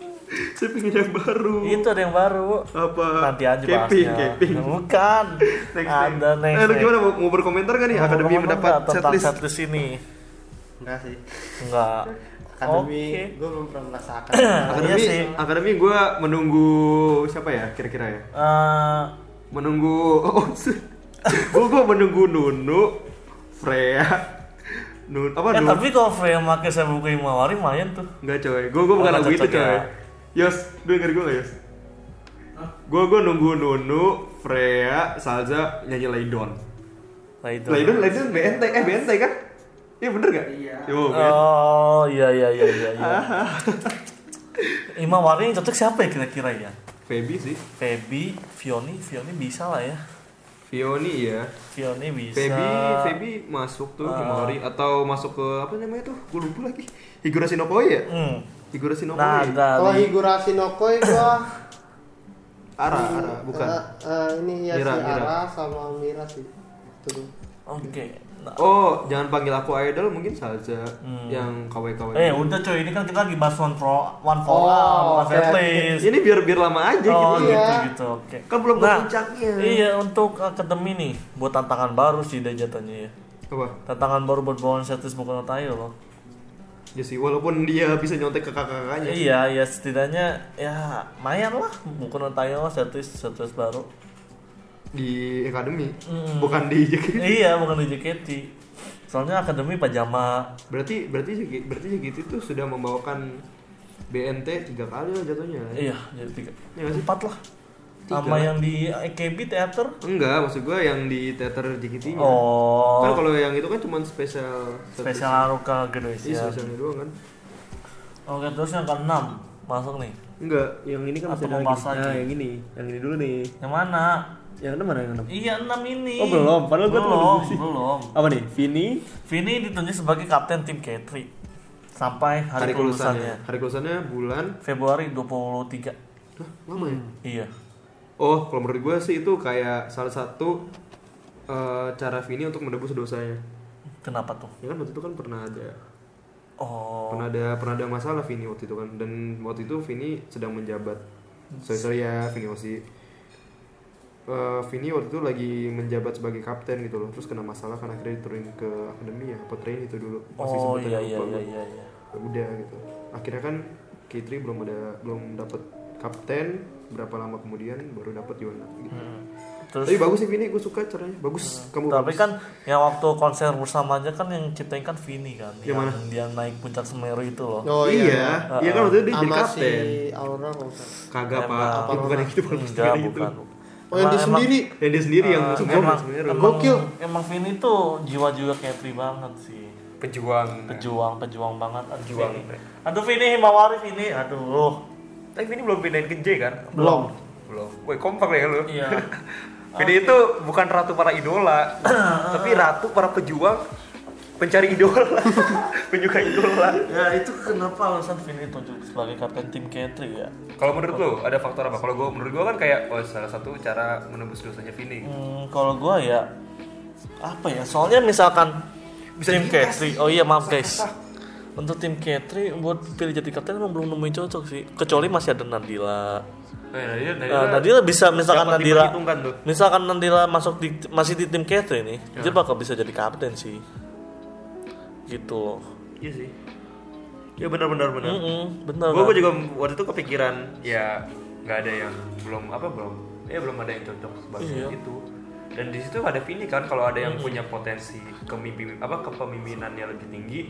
E: saya pengen yang baru
F: itu ada yang baru.
E: apa
F: Nanti aja
E: camping
F: bahasnya.
E: camping
F: Bukan.
E: Next
F: ada
E: thing.
F: next.
E: eh, lu
F: next.
E: gimana mau, mau berkomentar kan nih
F: Ngomong-ngomong
E: akademi
F: nggak Iya
E: mendapat
F: tentang
E: setlist
F: setlist ini.
G: Enggak sih.
F: Enggak.
G: akademi
F: Oke.
G: gue belum pernah merasakan
E: Akademi,
F: sih.
E: akademi gue menunggu siapa ya kira-kira ya?
F: Eh,
E: Menunggu, oh, gue gue menunggu Nunu, Freya, Nun apa
F: eh,
E: Nun?
F: tapi kalau Freya pakai saya buka Himawari main tuh.
E: Enggak coy, gue gue bukan
F: Oh,
E: lagu itu
F: cocok
E: coy.
F: ya.
E: Yos, lu denger gue gak Yos? Gue gue nunggu Nunu, Freya, Salza nyanyi Laidon.
F: Nah itu.
E: Laidon, Laidon BNT, eh BNT kan? Iya bener gak? Iya. Yo, BNT.
F: Oh iya iya iya iya. iya. Himawari yang cocok siapa ya kira-kira ya?
E: Feby sih,
F: Feby, Fioni, Fioni bisa lah ya.
E: Fioni ya.
F: Fioni bisa.
E: Feby, Feby masuk tuh
F: Ah.
E: Himawari atau masuk ke apa namanya tuh? Gue lupa lagi. Higurashi no Koi ya?
F: Hmm.
E: Higurashi no
F: Nah,
E: Koi.
G: kalau
F: dari
G: Higurashi no Koi gue
E: Ara, Ara, Ah, bukan.
G: ini ya
E: Mira,
G: si
E: Mira.
G: Ara sama Mira sih Tuh.
F: Oke. Nah,
E: Oh, jangan panggil aku idol mungkin Salza yang KW-KW.
F: Hmm. Eh udah coy, ini kan kita lagi bahas one for one for
G: Oh,
F: all, bukan
G: oke,
F: set
G: oke.
F: list.
E: Ini biar biar lama aja
F: Oh
E: gitu.
F: gitu
G: Iya.
F: gitu, oke.
E: Kan belum ke
F: Nah,
E: puncaknya.
F: Iya untuk akademi nih, buat tantangan baru sih deh jatuhnya ya.
E: Apa?
F: Tantangan baru buat bawaan setis bukan tayo loh.
E: Ya sih, walaupun dia bisa nyontek ke kakak-kakaknya.
F: Iya, ya setidaknya ya mayan lah bukan tayo lah setis setis baru.
E: di akademi,
F: Hmm.
E: bukan di JKT.
F: iya, bukan di JKT. Soalnya akademi pajama.
E: Berarti berarti JKT berarti JKT itu sudah membawakan BNT tiga kali lah jatuhnya.
F: Iya, jadi tiga.
E: Iya nggak sih?
F: Empat lah. Sama yang di AKB teater.
E: Enggak, maksud gua yang di teater JKT-nya.
F: Oh.
E: Kan Iya. kalau yang itu kan cuma spesial
F: Spesial Aruka Grace
E: Iya,
F: ya.
E: spesialnya doang kan.
F: Oke, terus yang keenam masuk nih.
E: Enggak, yang ini kan
F: Atau
E: masih ada
F: mau
E: lagi.
F: bahas lagi?
E: Nah, yang ini, yang ini dulu nih.
F: Yang mana?
E: Yang enam mana yang enam?
F: Iya enam ini.
E: Oh, belum. Padahal gua tuh
F: belum
E: udah sih.
F: belum.
E: Apa nih? Vini,
F: Vini ditunjuk sebagai kapten tim K3 sampai
E: hari ya? kelulusannya.
F: hari, kelulusannya
E: Hari kelulusannya bulan
F: Februari 23.
E: Hah, lama ya?
F: Iya.
E: Oh, kalau menurut gue sih itu kayak salah satu eh, cara Vini untuk menebus dosanya.
F: Kenapa tuh?
E: Ya kan waktu itu kan pernah ada
F: Oh.
E: pernah ada pernah ada masalah Vini waktu itu kan dan waktu itu Vini sedang menjabat. Sorry sorry ya Vini Osi. Eh, Vini waktu itu lagi menjabat sebagai kapten gitu loh terus kena masalah karena akhirnya diturunkan ke akademi ya apa train itu dulu masih
F: Oh
E: sempat
F: iya
E: ada
F: iya
E: lupa
F: iya
E: gua.
F: iya. iya.
E: Ya udah gitu akhirnya kan K3 belum ada belum dapat kapten berapa lama kemudian baru dapat Yona gitu.
F: Terus
E: Tapi bagus sih Vini, gue suka caranya. Bagus, kamu
F: Hmm. tapi
E: bagus.
F: kan yang waktu konser bersama aja kan yang ciptain kan Vini kan
E: Yang mana?
F: dia naik puncak Semeru itu loh.
G: oh
E: iya,
G: iya,
E: iya, kan waktu itu dia jadi
G: sama si
E: kapten.
G: Aura kalau nggak salah.
E: Kagak
F: Emang-
E: pak, ya, bukan yang itu bukan
F: Enggak,
E: yang itu.
F: bukan.
G: oh yang dia
F: Emang-
G: sendiri
E: Yang dia sendiri yang
F: emang-
E: semua
F: emang,
E: sebenarnya.
F: emang,
G: Gokil.
F: emang Vini tuh jiwa-jiwa K3 banget sih.
E: Pejuang.
F: pejuang pejuang banget aduh pejuang aduh Vini Himawari Vini aduh
E: Tapi Vini belum pindahin ke J kan?
G: belum
E: Belum. Woi kompak ya lu.
F: iya
E: Vini itu bukan ratu para idola, tapi ratu para pejuang pencari idola, penyuka idola.
F: ya itu kenapa alasan Vini itu sebagai kapten tim K3 ya
E: Kalau menurut lu ada faktor apa? Kalau gua menurut gua kan kayak oh, salah satu cara menembus dosanya Vini.
F: hmm, kalau gua ya apa ya soalnya misalkan tim K3 oh iya maaf guys untuk tim K3 buat pilih jadi kapten emang belum nemuin cocok sih kecuali masih ada Nadila
E: Oh, ya, dia, dia,
F: Nah, Nadila bisa misalkan
E: dapat
F: Nadila
E: diperhitungkan tuh. Iya.
F: misalkan Nadila masuk di masih di tim K3 nih dia bakal bisa jadi kapten sih gitu loh
E: Iya sih. Ya benar-benar benar.
F: Mm-mm, bener
E: Gue
F: kan?
E: juga waktu itu kepikiran ya nggak ada yang belum apa belum ya belum ada yang cocok sebagai
F: Iya.
E: itu. Dan di situ ada Vini kan kalau ada
D: Iya.
E: yang punya potensi kemimpin apa kepemimpinannya lebih tinggi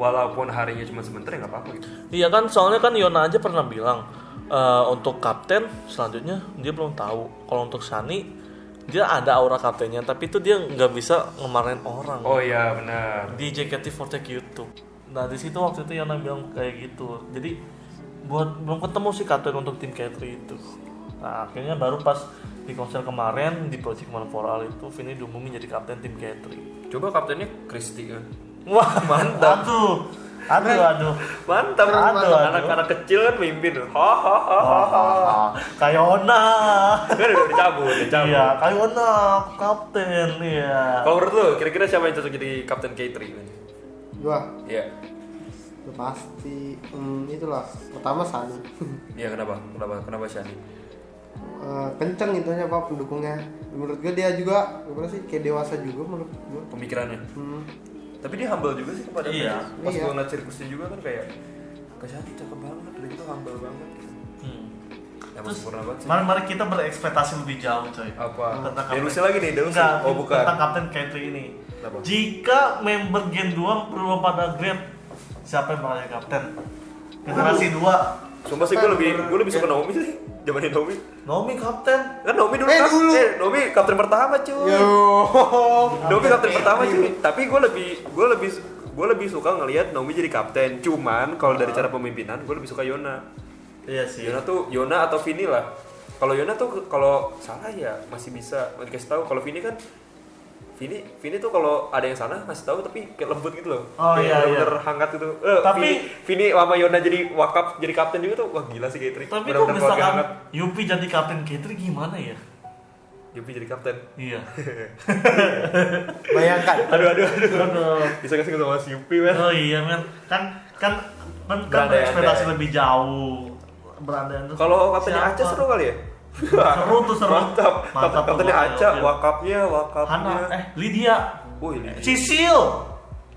E: walaupun harinya cuma sebentar ya nggak apa-apa gitu.
F: Iya kan, soalnya kan Yona aja pernah bilang eh, untuk kapten selanjutnya dia belum tahu. Kalau untuk Shani dia ada aura kaptennya, tapi itu dia nggak bisa ngemarin orang
E: Oh iya benar.
F: di JKT48 YouTube. Nah di situ waktu itu Yona bilang kayak gitu. Jadi buat belum ketemu sih kapten untuk tim K3 itu. Nah akhirnya baru pas di konser kemarin di Project Man for All itu Vini diumumin jadi kapten tim K3.
E: Coba kaptennya Kristi kan.
F: Wah mantap. Aduh, aduh, aduh.
E: Mantap,
F: Aduh, aduh.
E: anak-anak kecil kan mimpin. Hahaha.
F: Kayona.
E: Kan udah dicabut, dicabut.
F: Iya, Kayona kapten iya.
E: Kalau menurut lu kira-kira siapa yang cocok jadi kapten K3? Iya.
G: gua udah pasti hmm, itulah pertama Sani
E: Iya kenapa? Kenapa? Kenapa Shani?
G: Eh, kenceng itunya pak pendukungnya menurut gue dia juga gimana sih kayak dewasa juga menurut gue
E: Pemikirannya.
G: hmm.
E: tapi dia humble juga sih kepada
F: Iya.
E: fans. pas
G: Iya.
E: gua ngeliat sirkusnya juga kan kayak kesannya cakep banget dan itu humble banget gitu. emang sempurna banget sih
F: Mari, mari kita berekspektasi lebih jauh coy
E: apa
F: Tentang
E: Delusi
F: Captain-
E: lagi nih Delusi
F: Enggak,
E: oh bukan
F: tentang Kapten Kentry ini
E: Kenapa?
F: Jika member Gen 2 belum pada grade Siapa yang bakal jadi Kapten? Generasi 2
E: sumpah sih gue lebih gue lebih suka Naomi sih zamannya Naomi
F: Nomi Kapten
E: kan Naomi dulu
G: Eh,
E: kap-
G: dulu.
E: eh, Naomi kapten pertama cuy
G: Yo.
E: Naomi kapten pertama sih, tapi gue lebih gue lebih gue lebih suka ngelihat Naomi jadi kapten. Cuman kalau dari cara pemimpinan gue lebih suka Yona.
F: Iya sih
E: Yona tuh Yona atau Vini lah. Kalau Yona tuh kalau salah ya masih bisa dikasih tahu. Kalau Vini kan Vini Vini tuh kalau ada yang salah ngasih tahu tapi kayak lembut gitu loh.
F: Oh,
E: Kayak
F: iya, iya.
E: bener-bener hangat gitu. Eh,
F: Tapi-
E: Vini, Vini sama Yona jadi wakaf jadi kapten juga tuh wah gila sih Katri.
F: Tapi kok
E: Bener-bener keluarga
F: misalkan
E: hangat.
F: Yupi jadi Kapten Kentry gimana ya?
E: Yupi jadi kapten.
F: Iya
G: Bayangkan.
E: Aduh aduh aduh. Bisa kasih sama si Yupi men.
F: Oh iya men Kan kan kan, kan
E: Berandai-andai.
F: berekspektasi lebih jauh Berandai-andai
E: Kalau kaptennya
F: Siapa?
E: Aca seru kali ya?
F: Seru tuh, seru.
E: Mantap.
F: Mantap tuh,
E: kaptennya
F: gokil,
E: Aca,
F: gokil.
E: wakapnya, wakapnya.
F: Hana, eh Lydia
E: Wih, ini.
F: Sisil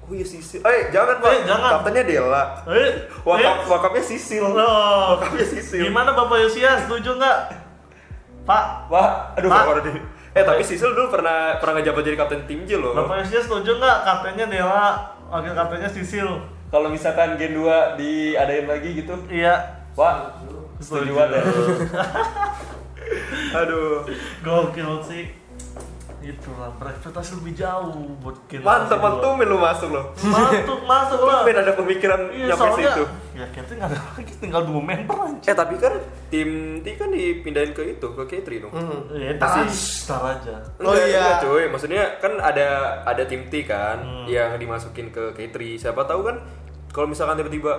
E: Oh iya Sisil. Eh, jangan, Pak.
F: Eh, jangan.
E: Kaptennya Dela.
F: Eh,
E: Wakap,
F: eh.
E: wakapnya Sisil.
F: Loh.
E: Wakapnya Sisil.
F: Gimana Bapak Yosia, setuju nggak? Pak,
E: Wah, aduh,
F: Pak.
E: Pak. Waduh, eh, tapi Sisil dulu pernah pernah ngejabat jadi kapten tim J loh.
F: Bapak Yosia setuju nggak kaptennya Dewa, wakil kaptennya Sisil?
E: Kalau misalkan Gen 2 diadain lagi gitu,
F: Iya,
E: Wah, setuju banget. ya. Aduh,
F: gokil sih. Itulah berekspektasi lebih jauh buat kita.
E: mantap mantap men lu masuk loh.
F: Mantap, masuk lah.
E: Tumben ada pemikiran
F: Iya,
E: nyampe
F: soalnya
E: situ.
F: ya kita nggak ada lagi, tinggal dua member aja.
E: Eh tapi kan tim T kan dipindahin ke itu ke Katri dong.
F: Iya, tar tar aja.
G: Oh
E: Enggak,
G: iya.
E: enggak, cuy. Maksudnya kan ada ada tim T kan yang dimasukin ke Katri. Siapa tahu kan kalau misalkan tiba-tiba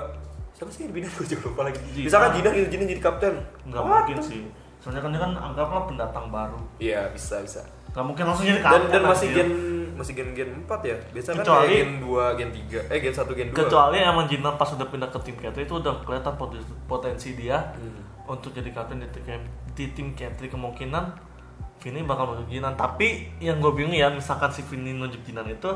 E: siapa sih yang dipindahin gue juga lupa lagi.
F: Jinan.
E: Misalkan Jinan gitu Jinan jadi kapten.
F: Nggak
E: What?
F: mungkin sih. Soalnya kan dia kan anggaplah pendatang baru.
E: Iya, bisa bisa.
F: Nggak mungkin langsung jadi
E: Dan
F: kapten.
E: dan masih
F: anjir.
E: gen masih gen gen 4 ya. Biasanya kan
F: Kecuali-
E: kayak gen 2, gen 3, eh gen 1, gen 2.
F: kecuali emang Jinan pas udah pindah ke tim Katri itu udah kelihatan pot- potensi dia
E: Hmm.
F: untuk jadi kapten di tim di tim Katri kemungkinan Vini bakal menuju Jinan tapi yang gue bingung ya misalkan si Vini nunjuk Jinan itu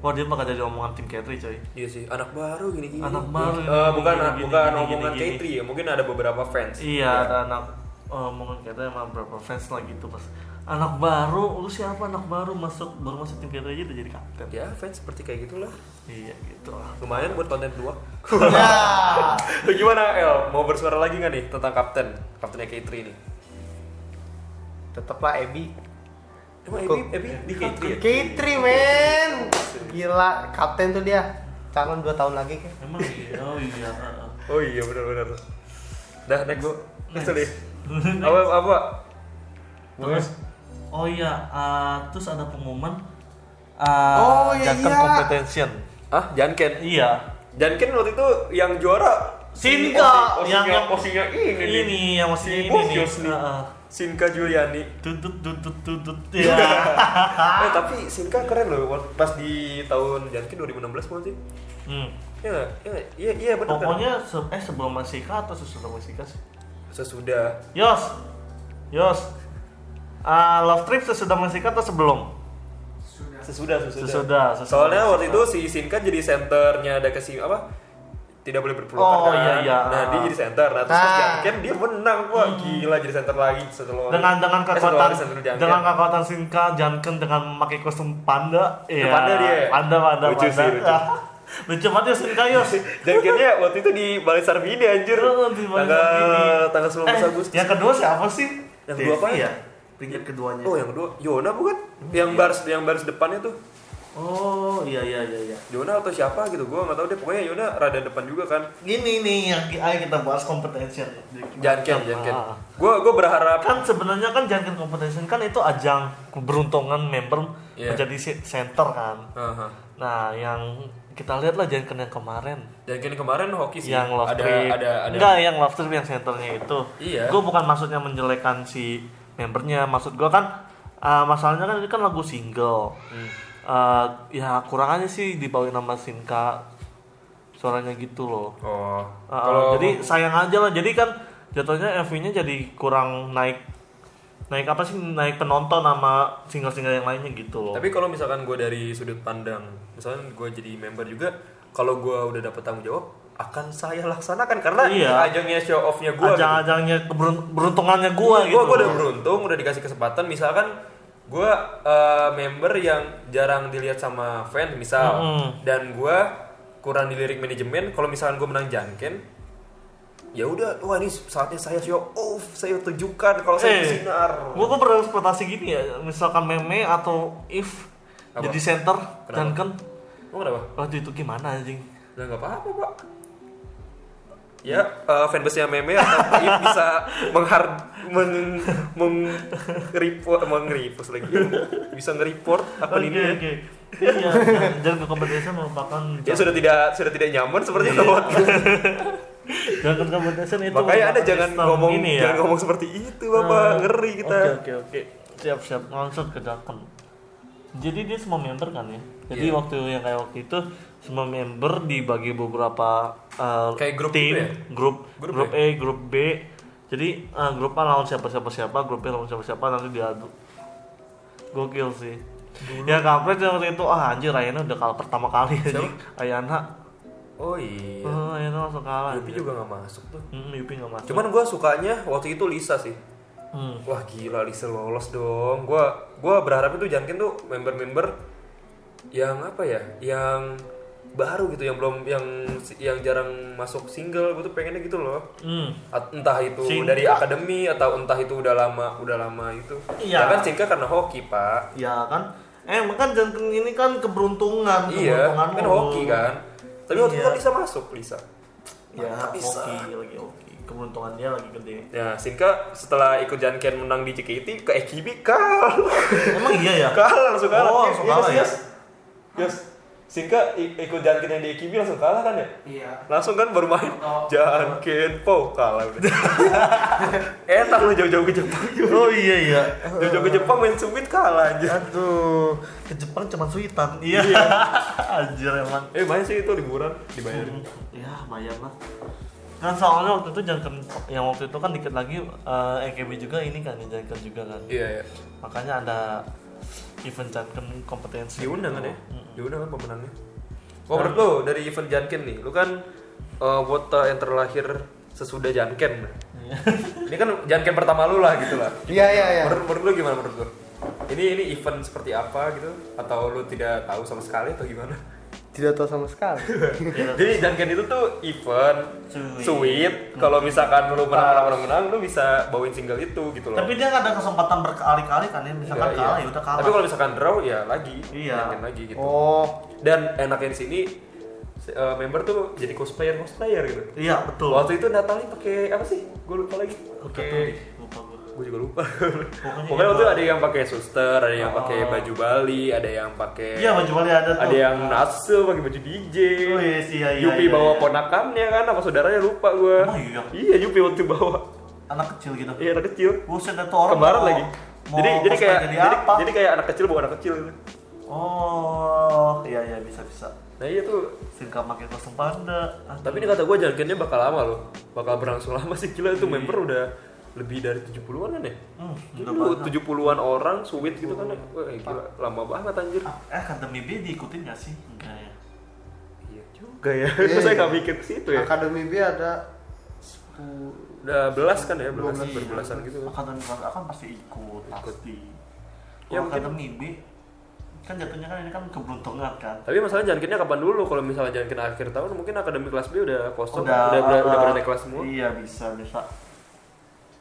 F: wah dia bakal jadi omongan tim Katri coy
E: Iya sih, anak baru gini-gini.
F: Anak baru,
E: Eh, bukan
F: gini-gini,
E: bukan
F: gini-gini,
E: omongan
F: gini-gini.
E: Katri ya. Mungkin ada beberapa fans.
F: iya ada anak eh, omongan Katri emang berapa fans lagi itu pas anak baru lu siapa anak baru masuk baru masuk tim Katri aja udah jadi kapten
E: Ya, fans seperti kayak gitulah.
F: iya gitu lah
E: Lumayan buat konten dua. Lu Gimana El? Mau bersuara lagi nggak nih tentang kapten? Kaptennya K3 nih.
G: Tetaplah Ebi.
E: Emang Ebi,
G: Kok-
E: Ebi di K3 ya?
G: Kitri men. Gila, kapten tuh dia. Calon 2 tahun lagi kan.
F: emang iya oh iya eh,
E: Oh iya benar-benar. Dah next gua. Next nih. Apa apa?
F: Terus oh iya eh, terus ada pengumuman eh,
G: Oh, iya,
F: Jakarta
G: iya.
F: Competition.
E: Ah, Janken.
F: Iya.
E: Janken waktu itu yang juara
F: Singa
E: posing-
F: yang yang
E: posingnya ini,
F: ini,
E: nih.
F: yang maksudnya
E: Si
F: ini nih.
E: Bosius nih.
F: Heeh.
E: Sinka Juliani.
F: Tutut tutut tutut ya.
E: Eh tapi Sinka keren loh waktu- pas di tahun Janken 2016 bukan sih?
F: Hmm.
E: Iya nggak? Iya nggak? Iya iya benar.
F: Pokoknya se- eh sebelum Masika atau sesudah Masika sih?
E: sesudah
F: Yos. Yos. Ah, love trip sesudah Masika atau sebelum?
E: sesudah sesudah.
F: Sesudah, sesudah.
E: Soalnya kan? waktu itu si Sinka jadi senternya ada ke si apa? Tidak boleh berpelukan
F: Oh,
E: kan?
F: iya, iya.
E: Nah, dia jadi center. Nah, terus
G: Ah.
E: pas Jangken dia menang. Wah, gila jadi center lagi setelah
F: Dengan dengan
E: eh, setelah
F: kekuatan
E: hari center Jangken.
F: dengan kekuatan Sinka Janken dengan memakai kostum panda. Iya.
E: Panda dia.
F: Panda panda
E: Lucu
F: panda.
E: sih, lucu.
F: Ah, lucu banget ya Sinka Yos.
E: Jangkennya waktu itu di Balai Sarbini anjir.
F: Oh, di Balai
E: tanggal
F: Sarbini.
E: tanggal 19
F: Eh,
E: Agustus.
F: Yang kedua siapa sih?
E: Yang kedua apa
F: Devi
E: ya?
F: Pinggir keduanya.
E: Oh, yang kedua Yona bukan? Yang
F: Iya.
E: baris yang baris depannya tuh.
F: Oh, iya iya iya iya.
E: Yona atau siapa gitu. Gua nggak tahu deh. Pokoknya Yona rada depan juga kan.
F: Gini nih yang ayo kita bahas kompetensi.
H: Iya, kan,
E: Jangken, Jangken.
F: Ah.
E: Gua gua berharap
F: Kan sebenarnya kan Janken Competition kan itu ajang keberuntungan member
E: Iya.
F: menjadi se- center kan.
H: Ah,
E: Aha.
F: Nah, yang kita lihat lah Janken yang kemarin.
E: Jangken kemarin hoki
H: Iya
E: sih.
F: yang love
E: ada,
F: trip
E: ada ada
F: enggak yang love trip yang senternya itu
E: Iya.
F: gue bukan maksudnya menjelekan si membernya maksud gue kan uh, masalahnya kan ini kan lagu single
E: Hmm.
F: Uh, ya kurangannya sih dibawain nama Sinka suaranya gitu loh Eh,
E: Oh.
F: ah, Uh, jadi sayang aja lah jadi kan jatuhnya MV-nya jadi kurang naik naik apa sih naik penonton sama single-single yang lainnya gitu loh
H: Tapi kalau misalkan gue dari sudut pandang, misalkan gue jadi member juga, kalau gue udah dapet tanggung jawab, akan saya laksanakan karena
F: Iya.
H: ajangnya show offnya gitu. gue.
E: gitu.
F: ajang-ajangnya keberun- keberuntungannya gue gitu
H: gue gue udah
F: loh.
H: beruntung udah dikasih kesempatan misalkan gue member yang jarang dilihat sama fans misal
F: Mm-hmm.
H: dan gue kurang dilirik manajemen kalau misalkan gue menang janken ya udah wah ini saatnya saya show off saya tunjukkan kalau saya
F: Eh,
H: bersinar
F: gue tuh berekspektasi gini ya, misalkan meme atau if
H: Apa?
F: jadi center
H: Kenapa?
F: dan kan
H: lo kenapa
F: waktu itu gimana anjing?
H: lah nggak apa-apa pak ya eh, fanbase-nya meme atau If bisa menghard meng meng report mengripus lagi bisa nge-report akun ini ya.
F: oke. Iya, dan kekompetisi merupakan
H: ya sudah tidak sudah tidak nyaman
F: Iya.
H: sepertinya lewat
F: dan kekompetisi itu
H: makanya anda
F: merupakan
H: jangan
F: sistem
H: ngomong
F: ini ya.
H: jangan ngomong seperti itu bapak
F: Eh,
H: ngeri kita
F: Oke oke oke. Siap siap langsung ke Daken. Jadi dia semua member kan ya. Jadi
H: Iya.
F: waktu yang kayak waktu itu semua member dibagi beberapa eh,
H: Kayak grup
F: tim,
H: gitu ya?
F: grup
H: Grup ya?
F: grup A, grup B. Jadi eh, grup A lawan siapa siapa siapa, grup B lawan siapa siapa nanti diadu. Gokil sih. Ya kampret yang waktu itu ah anjir Ayana udah kalah pertama kali anjing. Ayana,
H: oh iya
F: eh, Ayana langsung kalah.
H: Yupi
F: anjir.
H: juga nggak masuk tuh
F: Hmm, Yupi nggak masuk.
H: cuman gue sukanya waktu itu Lisa sih
F: Hmm.
H: wah gila Lisa lolos dong gue gua berharap itu Jankin tuh member-member yang apa ya yang baru gitu yang belum yang yang jarang masuk single gue tuh pengennya gitu loh
F: Hmm.
H: At- entah itu
F: Singka.
H: dari akademi atau entah itu udah lama udah lama itu
F: Iya.
H: ya kan singka karena hoki pak
F: Ya kan, eh kan jangan ini kan keberuntungan,
H: iya
F: keberuntungan
H: kan
F: mulu.
H: hoki kan tapi waktu itu
F: Iya.
H: kan Lisa masuk Lisa
F: Ya
H: Nggak bisa.
F: hoki lagi hoki, keberuntungan dia lagi gede.
H: ya Sinka setelah ikut Janken menang di JKT ke EKB kalah
F: Emang iya ya?
H: kalah langsung kalah
F: Oh,
H: Iya,
F: langsung
H: iya
F: kalah
H: nggak sih,
F: ya?
H: Yas? Yas, Sinka i- ikut Janken yang di EKB langsung kalah kan ya
G: Iya.
H: langsung kan baru main Janken po kalah udah enak lu jauh-jauh ke Jepang juga
F: Oh iya iya.
H: jauh-jauh ke Jepang main sumit kalah aja
F: Aduh, ke Jepang cuma suitan. Iya. Anjir emang.
H: eh main sih itu liburan dibayar
F: Ya bayar lah. Kan soalnya waktu itu jangan yang waktu itu kan dikit lagi eh, EKB juga ini kan jangan juga kan.
H: iya iya
F: Makanya ada event jangan kompetensi.
H: diundang kan ya diundang kan pemenangnya Oh menurut lo dari event Janken nih, lu kan uh, wota yang terlahir sesudah Janken Ini kan Janken pertama lu lah gitu lah
G: Iya iya iya.
H: menurut, menurut lu gimana menurut lu? Ini ini event seperti apa gitu? Atau lu tidak tahu sama sekali atau gimana?
G: Tidak tahu sama sekali.
H: Jadi Janken itu tuh event sweet, Kalau misalkan lu menang-menang-menang, lu bisa bawain single itu gitu loh
F: Tapi dia nggak ada kesempatan berkali-kali kan ya, misalkan
H: Iya,
F: kalah
H: iya.
F: ya udah kalah.
H: Tapi kalau misalkan draw ya lagi
F: Iya.
H: Janken lagi gitu
G: Oh,
H: dan enaknya di sini se- eh, member tuh jadi cosplayer cosplayer gitu
F: Iya betul.
H: waktu itu Natali pakai apa sih gue lupa lagi
F: Oke. Lupa gue.
H: gue juga lupa pokoknya, waktu itu ada yang pakai suster ada yang pakai baju Bali ada yang
F: Oh.
H: pakai
F: Iya baju Bali ada tuh.
H: ada yang nasu pakai baju DJ
F: Oh, iya, sih, iya, iya,
H: Yupi
F: iya,
H: bawa
F: iya.
H: ponakannya kan apa saudaranya lupa gue
F: Emang iya?
H: iya Yupi waktu bawa
F: anak kecil gitu.
H: iya anak kecil
F: Buset itu orang.
H: kembaran
F: mau-
H: lagi
F: mau
H: jadi jadi
F: cosplay
H: kayak
F: jadi,
H: jadi,
F: apa?
H: jadi kayak anak kecil bawa anak kecil gitu.
F: Oh, iya iya bisa bisa.
H: nah iya tuh
F: Singka pakai kostum panda. Aduh.
H: Tapi ini kan- kata gue jargonnya bakal lama loh. Bakal berlangsung lama sih gila itu member udah lebih dari 70-an kan ya?
F: Hmm,
H: Gila, 70-an orang suwit gitu kan. ya. Wah, gila, lama banget anjir.
F: eh Academy B diikutin gak sih? Enggak ya.
H: Iya juga ya. Kok saya gak mikir ke situ ya.
G: Akademi B ada 10
H: Udah belas kan ya, belasan
F: Iya.
G: 12.
H: berbelasan gitu.
F: Academy B akan Ah, kan pasti ikut, pasti.
H: Ya,
F: Kalau
H: mungkin.
F: Academy B kan jatuhnya kan ini kan keberuntungan kan.
H: Tapi masalah jankinnya kapan dulu? Kalau misalnya jankin akhir tahun mungkin akademi kelas B udah kosong,
F: udah
H: udah udah, udah
F: uh,
H: pada naik kelas semua.
F: Iya bisa bisa.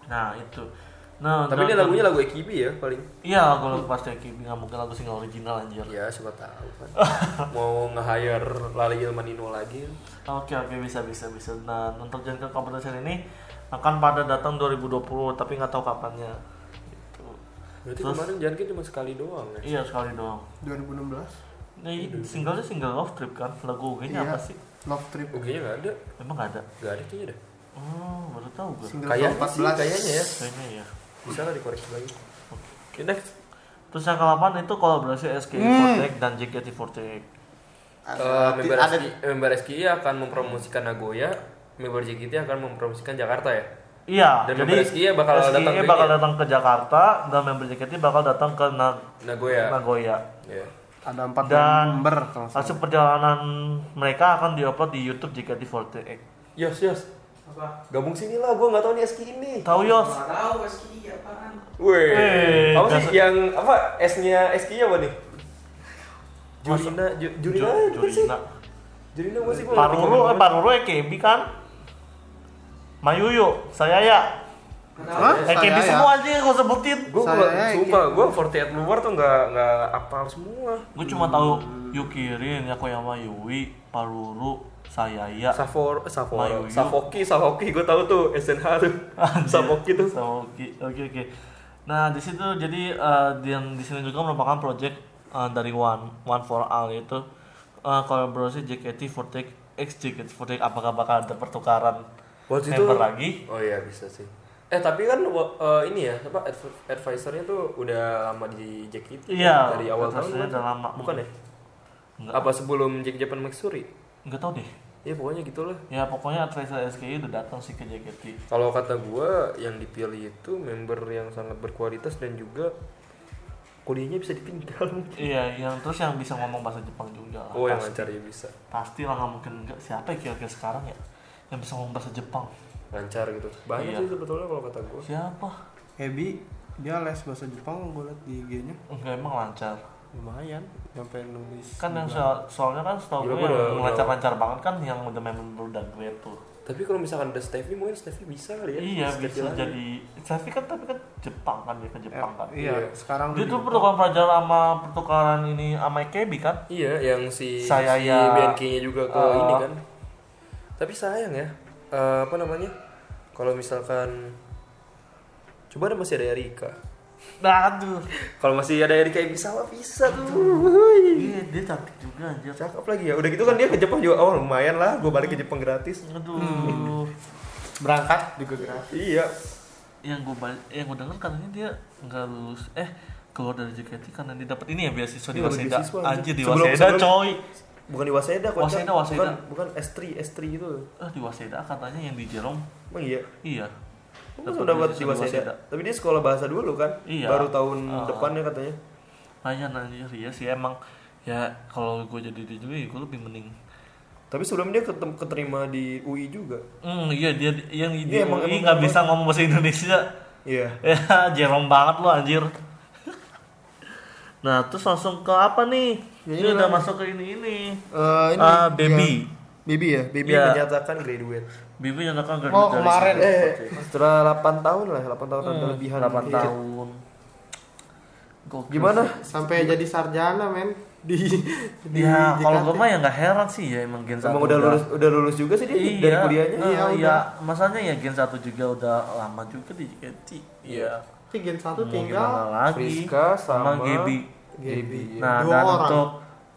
F: Nah itu. Nah, nah,
H: Tapi ini
F: nah.
H: lagunya lagu EKB ya paling.
F: Iya kalau pas Eki nggak mungkin lagu single original anjir.
H: Ya siapa tahu kan. Mau nge-hire Lali Ilmanino lagi.
F: Nah, Oke oke bisa bisa bisa. Nah untuk jangka competition ini akan pada datang 2020 tapi nggak tahu kapannya. Gitu.
H: Berarti kemarin jankin cuma sekali doang ya.
F: Iya sekali doang.
G: 2016.
F: Nah
H: Iya,
F: ini singlenya single love trip kan lagu nya apa
G: Iya.
F: sih?
G: Love Trip.
H: Oke, gak ada.
F: Emang nggak ada.
H: Gak ada kayaknya dah.
F: Oh baru tahu gue.
G: Single
H: Kayaknya sih,
G: 14.
H: kayaknya ya.
F: Kayaknya ya.
H: Bisa lah dikoreksi lagi. Oke, next.
F: Terus yang ke-8 itu kolaborasi
H: Hmm.
F: SKE48 dan JKT48.
G: Ada,
H: Eh, member,
G: ada
H: SKI, member SKI akan mempromosikan Nagoya, member JKT akan mempromosikan Jakarta ya.
F: Iya,
H: Dan
F: jadi
H: member SKI bakal
F: SKI
H: datang ke
F: bakal
H: ini ya?
F: datang ke Jakarta dan member JKT bakal datang ke Na-
H: Nagoya.
F: Nagoya.
H: Iya.
G: Ada empat
F: Dan-
G: member kalau nggak salah.
F: Hasil perjalanan mereka akan diupload di YouTube JKT48.
H: Yos, Yos. Gabung sini lah, gue nggak tahu nih SKI ini.
F: Tahu Yos?
H: Weh,
F: Eh,
H: apa
F: dasar-
H: sih yang apa S-nya SKI apa nih? Jurina, Ju-
G: Iya,
H: Jurina,
F: Ju-
H: bukan sih?
F: Jurina.
H: Jurina gue sih gua nggak tahu.
F: Paruru, eh Paruru EKB kan? Mayuyu, saya ya.
G: Hah?
F: EKB
G: Saya ya.
F: semua aja yang gue sebutin.
H: Gue
G: Saya
H: sumpah, gue 48 luar tuh nggak nggak apal semua.
F: Gue cuma tahu Yukirin, Yakoyama Yui, Paruru, Sayaya.
H: Safor, Safor,
F: Mayuyu.
H: Safoki, Safoki, gue
F: Oh,
H: tahu tuh SNH tuh,
E: Ah,
F: Anjir.
H: Safoki tuh.
F: Sawoki. Oke oke. Nah di situ jadi eh, yang di sini juga merupakan project eh, dari One One for All yaitu eh, kolaborasi JKT48 X JKT48 apakah bakal ada pertukaran
H: Waktu itu-
F: member lagi?
H: Oh iya bisa sih. Eh tapi kan wa- eh, ini ya apa adv- advisernya tuh udah lama di JKT kan?
F: Iya,
H: dari awal tahun
F: advisernya
H: kan?
F: udah lama.
H: bukan ya?
F: Enggak.
H: Apa sebelum Jack Japan Matsuri?
F: Nggak tahu deh.
H: Ya pokoknya gitulah.
F: Ya pokoknya Tracer SKI udah datang sih ke JKT.
H: Kalau kata gua yang dipilih itu member yang sangat berkualitas dan juga kuliahnya bisa ditinggal.
F: Iya, yang terus yang bisa ngomong bahasa Jepang juga lah.
H: Oh yang
F: Pasti.
H: lancar ya bisa.
F: Pasti lah nggak mungkin nggak. Siapa ya kira-kira sekarang ya yang bisa ngomong bahasa Jepang?
H: Lancar gitu. Banyak
F: Iya.
H: sih sebetulnya kalau kata gua.
F: Siapa?
G: Ebi dia les bahasa Jepang gue liat di IG-nya
F: Enggak emang lancar.
G: lumayan sampai nulis
F: kan yang soal, soalnya kan setahu gue
H: Gila, gua udah-
F: yang
H: udah-
F: lancar-lancar banget kan yang udah member dan grade tuh
H: Tapi kalau misalkan ada Stevie mungkin Stevie bisa kali ya.
F: iya
H: Stevie
F: bisa
H: lagi.
F: jadi tapi kan tapi kan Jepang kan dia ke Jepang kan
G: iya sekarang
F: dia
G: di-
F: tuh pertukaran pelajar sama pertukaran ini sama EKB kan
H: Iya, yang si
F: Saya
H: si
F: ya-
H: BNK-nya juga ke
F: Eh.
H: ini kan. Tapi sayang ya. eh, apa namanya? Kalau misalkan coba ada masih ada Erika.
F: nah aduh
H: Kalau masih ada Erika yang bisa lah bisa tuh.
F: iya dia cantik juga anjir
H: Cakep lagi ya. Udah gitu kan dia ke Jepang juga. Oh, lumayan lah. Gue balik ke Jepang gratis.
F: aduh Hmm.
G: berangkat juga gratis
H: Iya.
F: yang gue bal- yang gue denger katanya dia nggak lulus eh keluar dari JKT karena dia dapat ini ya beasiswa di
H: Iya,
F: Waseda
H: beasiswa,
F: anjir di
H: Sebelum-
F: Waseda
H: sebelum-
F: coy
H: Bukan di Waseda kok.
F: Waseda,
H: Cak.
F: Waseda.
H: Bukan, bukan S3, S3 gitu.
F: eh di Waseda katanya yang di Jerome
H: Emang iya.
F: iya
H: Emang sudah dapat di Waseda. Tapi dia sekolah bahasa dulu kan?
F: Iya.
H: Baru tahun
F: Ah.
H: depannya katanya.
F: Layan anjir ya sih emang ya kalau gue jadi DJ ya gue lebih mending
H: Tapi sebelum dia ketem- keterima di UI juga.
F: hmm iya dia yang di
H: Iya, emang-
F: UI
H: emang-
F: nggak
H: emang-
F: bisa ngomong bahasa Indonesia
H: Iya.
F: ya jerong banget lo anjir nah terus langsung ke apa nih ini
G: Ini
F: udah
G: lah.
F: masuk ke ini ini
G: Eh,
H: Oh,
G: ini
F: Ah, baby
G: Bibi ya Bibi
H: Bibi
F: Iya.
H: menyatakan graduate.
F: baby yang akan
G: oh kemarin
H: Eh, setelah 8 tahun lah, 8 tahun ada lebihan.
F: 8
H: Iya.
F: Hmm. tahun Gokil
H: Gimana?
F: sih.
G: sampai jadi sarjana men di di
F: ya
G: di
F: kalau
G: kantin.
F: gue mah ya nggak heran sih ya emang Gen 1
H: Emang udah lulus udah lulus juga sih dia
F: iya,
H: dari kuliahnya. Ah,
F: iya,
G: Iya,
F: iya. masanya ya Gen 1 juga udah lama juga di JKT iya
G: Si gen satu
F: mau gimana
G: tinggal
F: lagi
H: Friska sama
F: Gaby
G: Gaby, iya.
F: nah
G: Dua
F: dan
G: orang.
F: untuk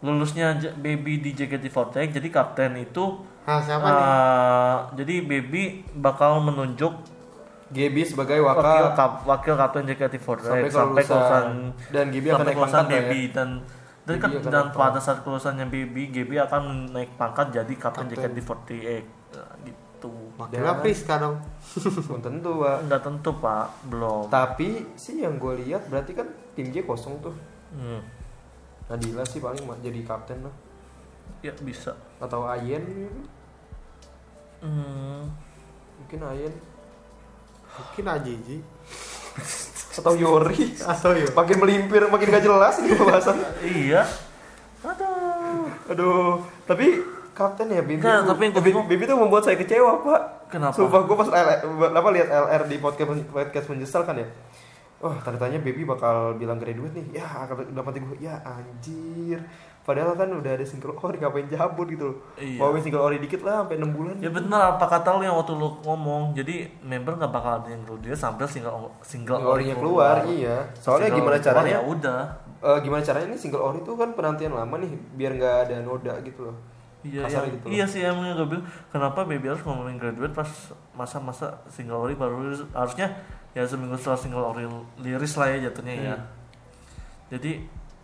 F: lulusnya J- Baby di JKT48 jadi kapten itu
G: nah siapa nih
F: eh, jadi Baby bakal menunjuk
H: GB sebagai
F: wakil
H: wakil
F: kap- wakil kapten JKT48 sampai,
H: Sampai kelulusan.
F: kelulusan
H: Dan Gaby akan
F: sampai
H: naik
F: kelulusan
H: pangkat ya.
F: Baby dan dan, kan-
H: Gaby akan
F: dan
H: naik
F: pada saat kelulusannya Baby Gaby akan naik pangkat jadi kapten, JKT48 Nah, gitu
G: wakilnya Priska dong
H: belum tentu, Pak.
F: nggak tentu pak belum
H: Tapi sih yang gue lihat berarti kan tim J kosong tuh.
F: Hmm,
H: Nadila sih paling ma- jadi kapten lah
F: ya bisa
H: atau Ayen gitu. mungkin.
F: Hmm.
H: mungkin Ayen
G: mungkin AJJ
H: atau Yori
G: atau yo
H: makin melimpir makin gak jelas ini pembahasan
F: Iya. Aduh.
H: aduh tapi kapten ya Bibi
F: Nggak, Nah, tapi yang gua
H: Bibi,
F: bingung-
H: Bibi tuh membuat saya kecewa pak
F: Kenapa?
H: sumpah gue pas LR, apa lihat LR di podcast podcast menyesal kan ya Wah, tanya Baby bakal bilang graduate nih. Ya, akan- dalam hati gue, ya anjir. Padahal kan udah ada single ori, ngapain cabut gitu loh.
F: Iya.
H: Bawain single ori dikit lah, sampai 6 bulan.
F: Ya benar apa kata lu yang waktu lu ngomong. Jadi member nggak bakal ada yang dulu dia sambil single single
H: Single orinya keluar, iya. Soalnya
F: Single
H: gimana
F: ori keluar,
H: caranya?
F: Ya udah.
H: Eh, gimana caranya ini single ori tuh kan penantian lama nih, biar nggak ada noda gitu loh.
F: Iya,
H: Kasar
F: iya.
H: gitu loh.
F: iya sih emang gue bilang kenapa baby harus ngomongin graduate pas masa-masa single ori baru rilis. harusnya ya seminggu setelah single ori liris lah ya jatuhnya ya. Jadi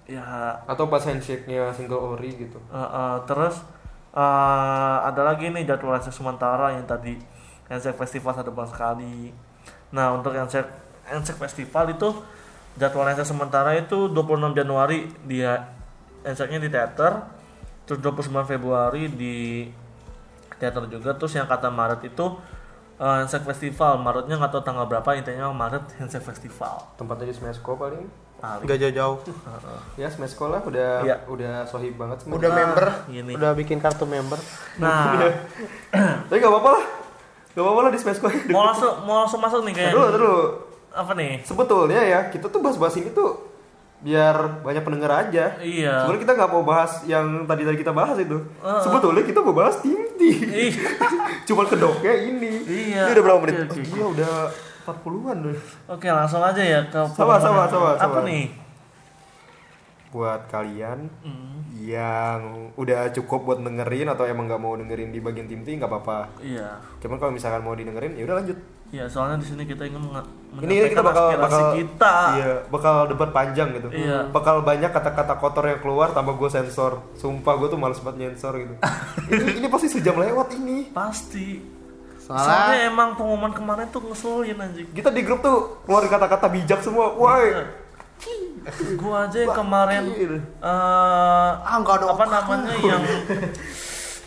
F: ya
H: Atau pas handshake-nya single ori
F: Eh,
H: gitu.
F: Uh, uh, terus uh, ada lagi nih jadwal aksi sementara yang tadi Ensek Festival satu bulan sekali. Nah untuk Ensek Ensek E Festival itu jadwal Ensek sementara itu 26 Januari dia Enseknya E di teater, terus 29 Februari di teater juga, terus yang kata Maret itu eh, Ensek Festival, Maretnya nggak tahu tanggal berapa, intinya Maret Ensek Festival.
E: Tempatnya di Smesko paling.
F: Paling.
G: Gak jauh-jauh.
E: Ya Smesko lah udah
F: Iya.
E: udah sohib banget
G: Udah member,
F: gini.
G: udah bikin kartu member.
F: Nah,
E: Tapi gak apa-apa lah. Gak apa-apa lah di Smesko.
F: mau langsung mau langsung masuk nih
E: Dulu
F: kayaknya.
E: dulu.
F: Apa nih?
E: Sebetulnya ya kita tuh bahas-bahas ini tuh biar banyak pendengar aja.
F: Iya.
E: Sebenarnya kita nggak mau bahas yang tadi tadi kita bahas itu. Sebetulnya kita mau bahas Tinti.
F: Ih.
E: Cuman kedoknya ini.
F: Iya.
E: Ini udah berapa menit?
F: Oke, oke,
E: Oh, gila udah 40-an loh.
F: Oke langsung aja ya ke
E: Sabar, sabar, sabar,
F: apa
E: sabar.
F: nih
E: buat kalian
F: Mm-hmm.
E: yang udah cukup buat dengerin atau emang nggak mau dengerin di bagian tim T nggak apa-apa.
F: iya
E: Cuman kalau misalkan mau didengerin ya udah lanjut.
F: iya soalnya di sini kita ingin menge-
E: Ini, ini kita
F: menyampaikan
E: bakal
F: aspirasi
E: bakal
F: kita
E: Iya, bakal debat panjang gitu.
F: Iya.
E: Bakal banyak kata-kata kotor yang keluar tambah gue sensor. Sumpah gue tuh males banget nyensor gitu. ini, ini pasti sejam lewat ini.
F: pasti soalnya
G: Soalnya
F: emang pengumuman kemarin tuh ngeselin anjing
E: Kita di grup tuh keluar kata-kata bijak semua. Woi.
F: gua aja yang kemarin
E: Gokil.
F: eh
G: Ah, nggak ada
F: apa
G: otak.
F: namanya yang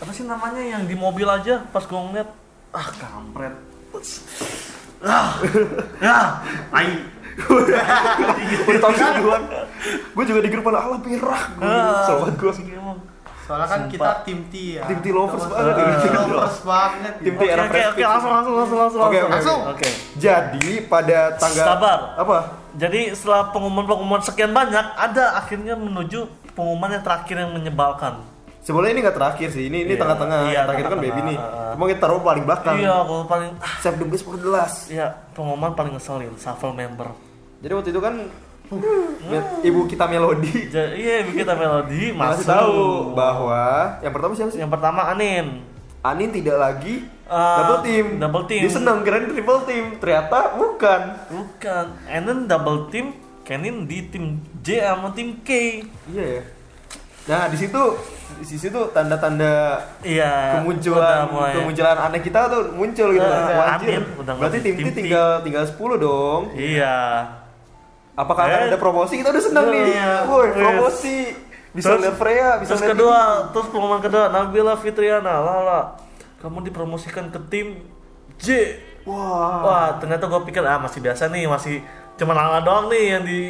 F: apa sih namanya yang di mobil aja pas gua ngeliat ah kampret ah ya ai
E: Udah tahun duluan. Gue juga di grup malah ala pirah.
G: gitu.
E: Sobat gue.
F: emang
G: Soalnya kan kita tim T ya.
E: Tim T lovers banget. Tim T lovers.
G: Lovers banget.
E: Tim T
F: oke
E: era
F: ya. oke
E: Fresh
F: oke
E: Prince.
F: langsung langsung langsung langsung
E: Oke, oke,
F: langsung oke
G: oke.
E: Jadi pada tanggal
F: Sabar.
E: apa?
F: Jadi setelah pengumuman-pengumuman sekian banyak, ada akhirnya menuju pengumuman yang terakhir yang menyebalkan.
E: Sebenarnya ini nggak terakhir sih. Ini ini
F: Iya.
E: tengah-tengah.
F: Iya,
E: terakhir kan baby nih.
F: tengah-tengah.
E: Cuma kita taruh paling belakang.
F: Iya, kalau paling
E: Save the best for the last.
F: ya pengumuman paling ngeselin, shuffle member.
E: Jadi waktu itu kan
F: Hmm.
E: ibu kita Melody
F: Ja- iya, bikin melodi
E: masih
F: masuk.
E: tahu bahwa yang pertama siapa sih?
F: Yang pertama Anin.
E: Anin tidak lagi
F: Ah,
E: double team.
F: double team.
E: Dia senang keren triple team. Ternyata bukan.
F: Bukan, Anin double team, Kenin di tim J sama tim K.
E: Iya ya. Nah di situ di situ tanda-tanda
F: Iya. udah
E: kemunculan
F: mulai.
E: kemunculan aneh kita tuh muncul gitu.
F: Eh,
E: kan. Wah, anjir.
F: aneh, udah
E: Berarti
F: ngerti.
E: tim T
F: Tim T.
E: tinggal tinggal 10 dong.
F: Iya.
E: Apakah akan
F: Eh.
E: ada promosi? Kita udah seneng nih.
F: Iya.
E: Woi,
F: Yes.
E: promosi. Bisa
F: Terus-
E: lihat Freya, bisa
F: terus
E: lihat
F: kedua, terus pengumuman kedua Nabila Fitriana, Lala, kamu dipromosikan ke tim J.
E: Wah.
F: Wah, ternyata gue pikir ah masih biasa nih, masih cuma Lala doang nih yang di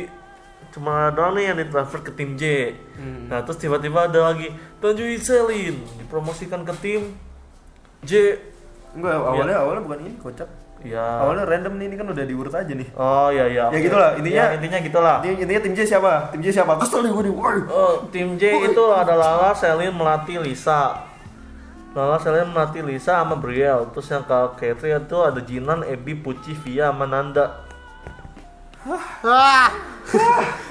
F: cuma Lala doang nih yang ditransfer ke tim J.
E: Hmm.
F: Nah, terus tiba-tiba ada lagi Tanjui Selin dipromosikan ke tim J.
E: Enggak,
F: Iya.
E: awalnya awalnya bukan ini, kocak.
F: Ya.
E: Awalnya random nih, ini kan udah diurut aja nih.
F: Oh ya ya.
E: Ya
F: oke.
E: gitulah, intinya-
F: Ya, intinya gitulah.
E: Ah. Ini intinya tim J siapa? Tim J siapa? Kesel nih gue nih. Woi.
F: Oh, tim J itu ada Lala, Selin, Melati, Lisa. Lala, Selin, Melati, Lisa sama Briel. Terus yang ke Katri itu ada Jinan, Ebi, Puci, Via, sama Nanda.
G: Ah,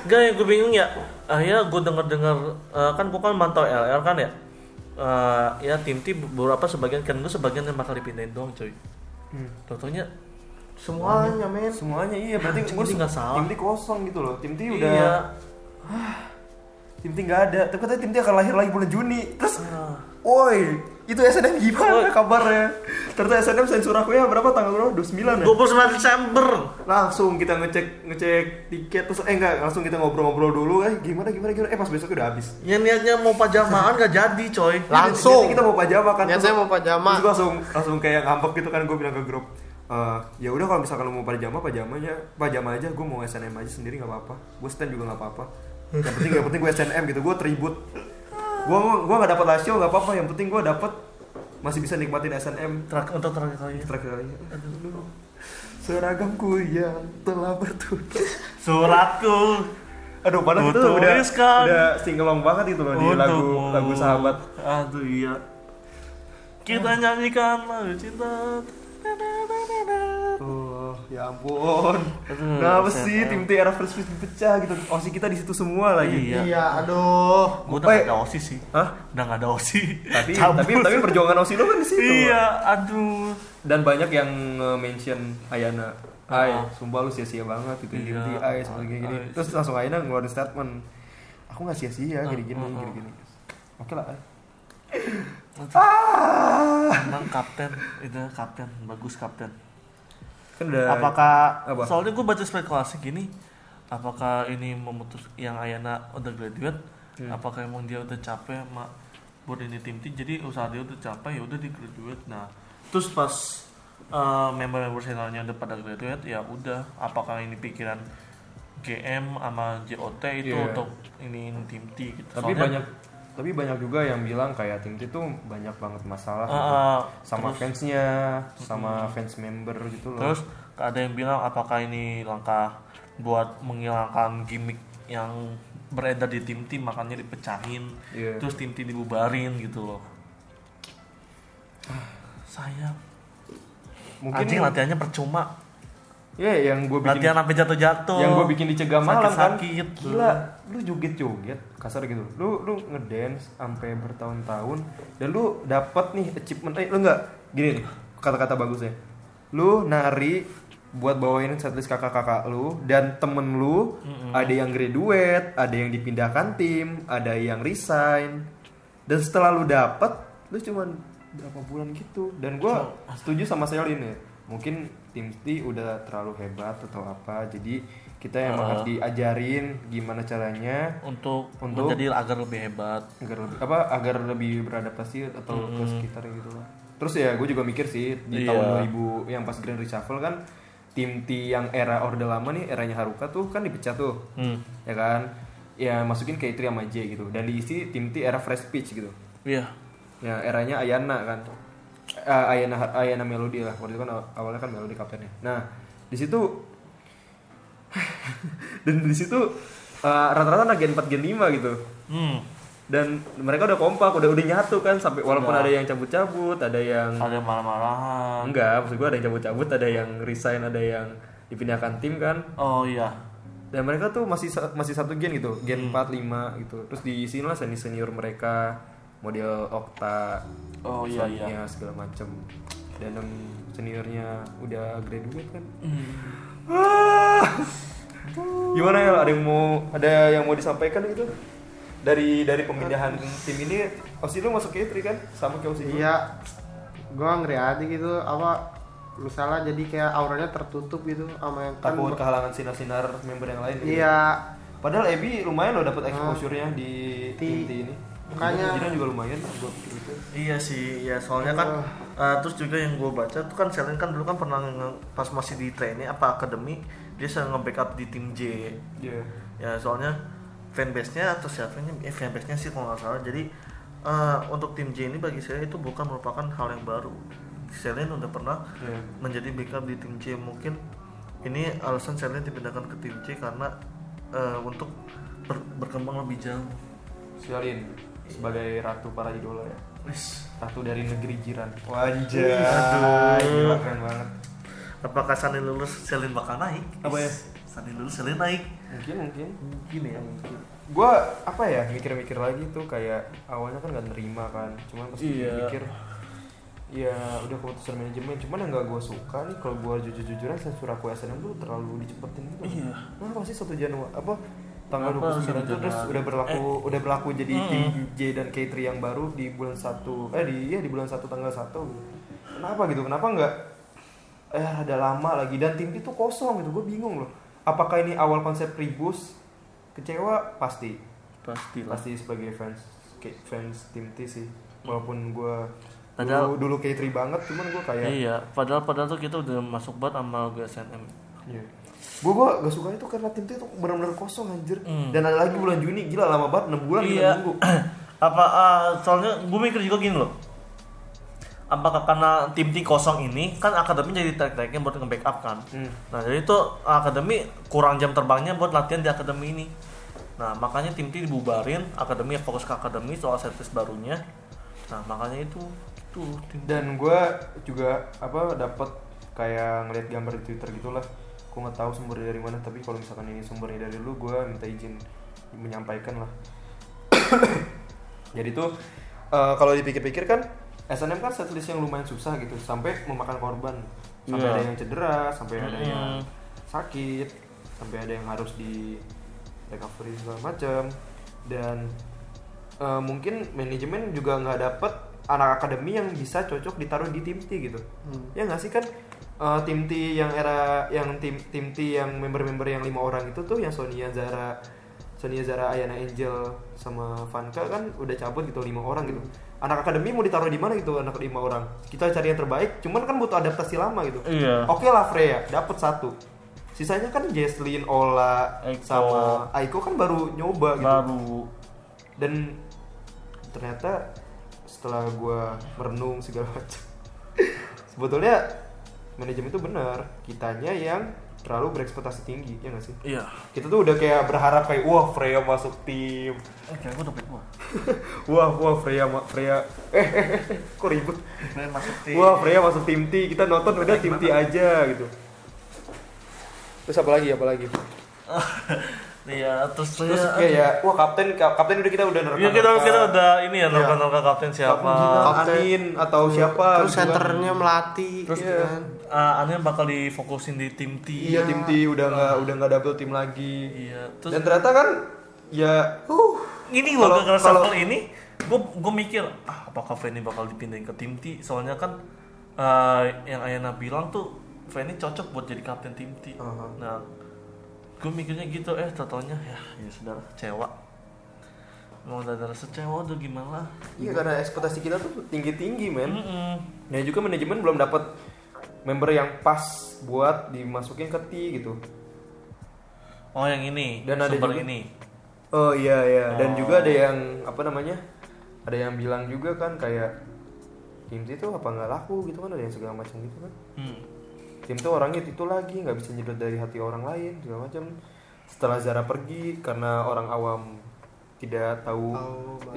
F: Gak yang gue bingung ya. Akhirnya gue denger-denger eh, kan gue kan mantau LR kan ya. Eh, ya tim T beberapa sebagian kan gue sebagian yang bakal dipindahin doang cuy. Tentunya
G: semuanya men.
E: Semuanya iya, berarti
F: Anjing,
E: gue
F: ini nggak salah.
E: Tim T kosong gitu loh. Tim T udah
F: iya.
E: tim T nggak ada. Tapi katanya tim T akan lahir lagi bulan Juni. Terus woi, itu SNM gimana kabarnya? Ternyata SNM sensor aku ya berapa tanggal berapa? 29 ya?
F: 29 Desember.
E: langsung kita ngecek ngecek tiket terus eh enggak langsung kita ngobrol-ngobrol dulu eh gimana gimana gimana eh pas besok udah habis
F: Yang niatnya mau pajamaan gak jadi coy.
E: Jadi
G: Langsung.
E: Iya, kita mau pajama kan
G: Niat
E: terus-
G: saya mau
E: terus gua
G: pajama.
E: langsung langsung kayak ngambek gitu kan gue bilang ke grup "Eh, ya udah kalau misalkan lu mau pajama pajamanya pajama aja gue mau SNM aja sendiri nggak apa-apa gue stand juga nggak apa-apa yang penting yang penting gue SNM gitu gue tribut gue gue nggak dapat rasio nggak apa-apa yang penting gue dapet masih bisa nikmatin SNM
F: Terakhir untuk terakhir kalinya.
E: terakhir kalinya aduh seragamku yang telah bertugas
F: Suratku
E: Aduh, padahal itu udah
F: Kutuliskan.
E: udah singelong banget gitu loh di lagu
F: Untukmu.
E: lagu sahabat.
F: Aduh iya. Kita nyanyikan lagu cinta.
E: Oh, ya ampun. Kenapa sih
F: ya?
E: tim T era first Fist dipecah gitu? Osi kita di situ semua lagi.
F: Iya.
G: Iya, aduh.
F: Gue udah gak
E: Eh.
F: ada osi sih.
E: Hah?
F: Udah gak ada osi.
E: Tapi
F: Cabut.
E: tapi tapi perjuangan Osi lo kan di situ.
F: Iya, aduh.
E: Dan banyak yang mention Ayana. Ay,
F: Ah.
E: sumpah lu sia-sia banget gitu tim
F: Iya.
E: T ay seperti gini, gini.
F: Ay.
E: Terus langsung Ayana ngeluarin statement.
F: Ah.
E: Aku nggak sia-sia gini-gini gini-gini. Oke lah. Ay. Ah,
I: ah
F: Emang kapten, itu kapten, bagus kapten.
I: kan udah
F: Apakah
I: Apa?
F: soalnya gue baca spekulasi gini, apakah ini memutus yang Ayana udah graduate,
E: Iya.
F: apakah emang dia udah capek sama buat ini tim tim jadi usaha dia udah capek ya udah di graduate nah terus pas eh, member-member seniornya udah pada graduate ya udah apakah ini pikiran GM sama JOT itu
E: Iya.
F: untuk ini tim T gitu
E: tapi
F: Soalnya,
E: banyak tapi banyak juga yang bilang kayak tim itu banyak banget masalah
F: eh,
E: gitu.
F: eh,
E: sama
F: terus- Hmm.
E: fansnya sama fans member gitu loh
F: Terus ada yang bilang apakah ini langkah buat menghilangkan gimmick yang beredar di tim-tim makanya dipecahin,
E: Iya.
F: terus tim-tim dibubarin gitu loh. Sayang.
E: mungkin
F: Anjing latihannya percuma.
E: ya yang gue bikin
F: Latihan sampai jatuh-jatuh.
E: yang gue bikin di Cegah Malam kan
F: Sakit-sakit.
E: gila lu joget joget kasar gitu lu lu ngedance sampai bertahun-tahun dan lu dapat nih achievement eh, lu nggak gini nih kata-kata bagusnya lu nari buat bawain setlist kakak-kakak lu dan temen lu ada yang graduate ada yang dipindahkan tim ada yang resign dan setelah lu dapet lu cuman berapa bulan gitu dan gua setuju sama Selin ya mungkin tim T udah terlalu hebat atau apa jadi kita emang
F: Ah.
E: harus diajarin gimana caranya
F: untuk,
E: Untuk-
F: menjadi agar lebih hebat.
E: agar lebih apa agar lebih beradaptasi atau ke sekitar gitu lah terus ya gue juga mikir sih di
F: Iya.
E: tahun 2000 yang pas Grand Reshuffle kan tim T yang era Orde Lama nih eranya Haruka tuh kan dipecat tuh
F: Hmm.
E: ya kan ya masukin K3 sama J gitu dan diisi tim T era Fresh Pitch gitu
F: Iya.
E: Ya, eranya Ayana kan. Eh, Ayana Ayana Melody lah. Waktu itu kan aw- awalnya kan Melody kaptennya. Nah, di situ dan di situ eh, rata-rata anak gen 4 gen 5 gitu.
F: Hmm.
E: Dan mereka udah kompak, udah udah nyatu kan sampai walaupun ada yang cabut-cabut, ada yang
F: Iya. Ada yang marah-marahan.
E: enggak, maksud gua ada yang cabut-cabut, ada yang resign, ada yang dipindahkan tim kan.
F: Oh iya.
E: Dan mereka tuh masih sa- masih satu gen gitu,
F: Hmm.
E: gen 4 5 gitu. Terus diisiin lah senior-senior mereka, model Okta,
F: Oh iya iya.
E: ya segala macem dan yang seniornya udah graduate kan
F: Hmm.
E: Ah. gimana ya ada yang mau ada yang mau disampaikan gitu dari dari pemindahan tim ini Osi lu masuk K3 kan sama kayak Osi gua.
G: Iya, gue ngeri aja gitu apa misalnya jadi kayak auranya tertutup gitu sama yang kan
E: takut
G: be-
E: kehalangan sinar-sinar member yang lain gitu.
G: Iya,
E: padahal Ebi lumayan loh dapat exposure-nya di tim
G: Ah. Ti-
E: T ini
G: makanya-
E: Jidan juga lumayan gua pikir itu
F: Iya sih, ya soalnya kan eh, terus juga yang gue baca tuh kan Selin kan dulu kan pernah nge- pas masih di trainee apa akademi dia sering nge-backup di tim J.
E: Iya.
F: Ya soalnya fanbase-nya atau siapanya eh fanbase-nya sih kalau nggak salah. Jadi eh, untuk tim J ini bagi saya itu bukan merupakan hal yang baru. Selin udah pernah
E: Iya.
F: menjadi backup di tim C mungkin ini alasan Selin dipindahkan ke tim C karena eh, untuk ber- berkembang lebih jauh.
E: Sialin sebagai ratu para idola ya
F: Wis.
E: ratu dari negeri jiran wajah gila keren banget
F: apakah Sani lulus Selin bakal naik
E: Apa ya?
F: Sani lulus Selin naik
E: mungkin mungkin
F: mungkin ya mungkin
E: gue apa ya mikir-mikir lagi tuh kayak awalnya kan gak nerima kan cuman pas
F: Iya.
E: mikir ya udah keputusan manajemen cuman yang gak gue suka nih kalau gue jujur-jujuran sensor aku SNM tuh terlalu dicepetin gitu
F: Iya.
E: kenapa sih satu Januari apa tanggal
F: Kenapa
E: 29 tuh
F: harus satu
E: terus
F: Januari? Eh. Hmm.
E: udah berlaku udah berlaku jadi tim J dan K3 yang baru di bulan 1 eh di iya di bulan 1 tanggal 1 gitu. kenapa gitu kenapa nggak eh ada lama lagi dan tim itu kosong gitu gue bingung loh apakah ini awal konsep ribus kecewa pasti
F: pasti lah
E: pasti sebagai fans K- fans tim T sih walaupun gue
F: Padahal-
E: dulu, dulu K3 banget cuman gue kayak
F: iya padahal padahal tuh kita udah masuk banget sama GSNM
E: Iya. Gue gue gak suka itu karena tim itu benar-benar kosong anjir.
F: Hmm.
E: Dan ada lagi bulan Juni gila lama banget 6 bulan kita
F: Iya.
E: nunggu.
F: apa eh, soalnya gue mikir juga gini loh apakah karena tim tim kosong ini kan akademi jadi tarik-tariknya buat nge-backup kan
E: Hmm.
F: nah jadi itu akademi kurang jam terbangnya buat latihan di akademi ini nah makanya tim tim dibubarin akademi fokus ke akademi soal service barunya nah makanya itu tuh tim
E: Dan gue juga apa dapat kayak ngeliat gambar di Twitter gitulah. Gue nggak tahu sumbernya dari mana tapi kalau misalkan ini sumbernya dari lu gue minta izin menyampaikan lah. Jadi tuh eh, kalau dipikir-pikir kan SNM kan setlist yang lumayan susah gitu sampai memakan korban sampai
F: Iya.
E: ada yang cedera sampai ada
F: Mm-mm.
E: yang sakit sampai ada yang harus di recovery segala macam dan eh, mungkin manajemen juga nggak dapet anak akademi yang bisa cocok ditaruh di tim T gitu ya nggak sih kan eh, tim T yang era yang tim tim T yang member-member yang lima orang itu tuh yang Sonia Zara Sonia Zara Ayana Angel sama Vanka kan udah cabut gitu lima orang gitu anak akademi mau ditaruh di mana gitu anak lima orang kita cari yang terbaik cuman kan butuh adaptasi lama gitu
F: Iya.
E: oke lah Freya dapat satu sisanya kan Jesslyn Ola
F: Aiko.
E: sama Aiko kan baru nyoba gitu
F: baru
E: dan ternyata setelah gua merenung segala macam sebetulnya manajemen itu benar kitanya yang terlalu berekspektasi tinggi ya nggak sih
F: iya
E: kita tuh udah kayak berharap kayak wah Freya masuk tim
F: oke aku dapat Eh, gua
E: wah wah Freya ma- Freya eh, eh, eh, kok ribut
F: Kalian masuk tim
E: wah Freya masuk tim T kita nonton udah tim T aja gitu terus apa lagi apa lagi
F: iya terus
E: terus
F: saya
E: kayak ya wah kapten kap- kapten udah kita udah nerka
F: Iya kita kita udah ini
E: Iya.
F: ya nonton nonton kapten
E: kapten
F: siapa.
E: Anin atau siapa
G: terus
E: gitu kan.
G: senternya melati
E: Terus-
G: iya kan?
F: Ah, Aneh bakal difokusin di tim T.
E: Iya tim T udah nggak udah nggak double tim lagi.
F: Iya.
E: Dan
F: Terus
E: ternyata kan ya uh
F: ini loh
E: kalau-
F: gara-gara
E: kalau-
F: shuffle ini, gue gue mikir ah apakah Fanny bakal dipindahin ke tim T? Soalnya kan eh, yang Ayana bilang tuh Fanny cocok buat jadi kapten tim T. Nah gue mikirnya gitu eh totalnya ya ya sudah lah, kecewa. Emang udah ada rasa kecewa udah gimana lah.
E: iya karena ekspektasi kita tuh tinggi tinggi men.
F: Mm-mm.
E: Dan juga manajemen belum dapat member yang pas buat dimasukin ke T gitu.
F: Oh yang ini
E: Dan ada
F: sumber
E: juga-
F: ini.
E: Oh iya iya dan juga ada yang apa namanya ada yang bilang juga kan kayak tim T tuh apa nggak laku gitu kan ada yang segala macam gitu kan.
F: Hmm.
E: tim tuh orangnya itu lagi nggak bisa nyedot dari hati orang lain segala macam setelah Zara pergi karena orang awam tidak tahu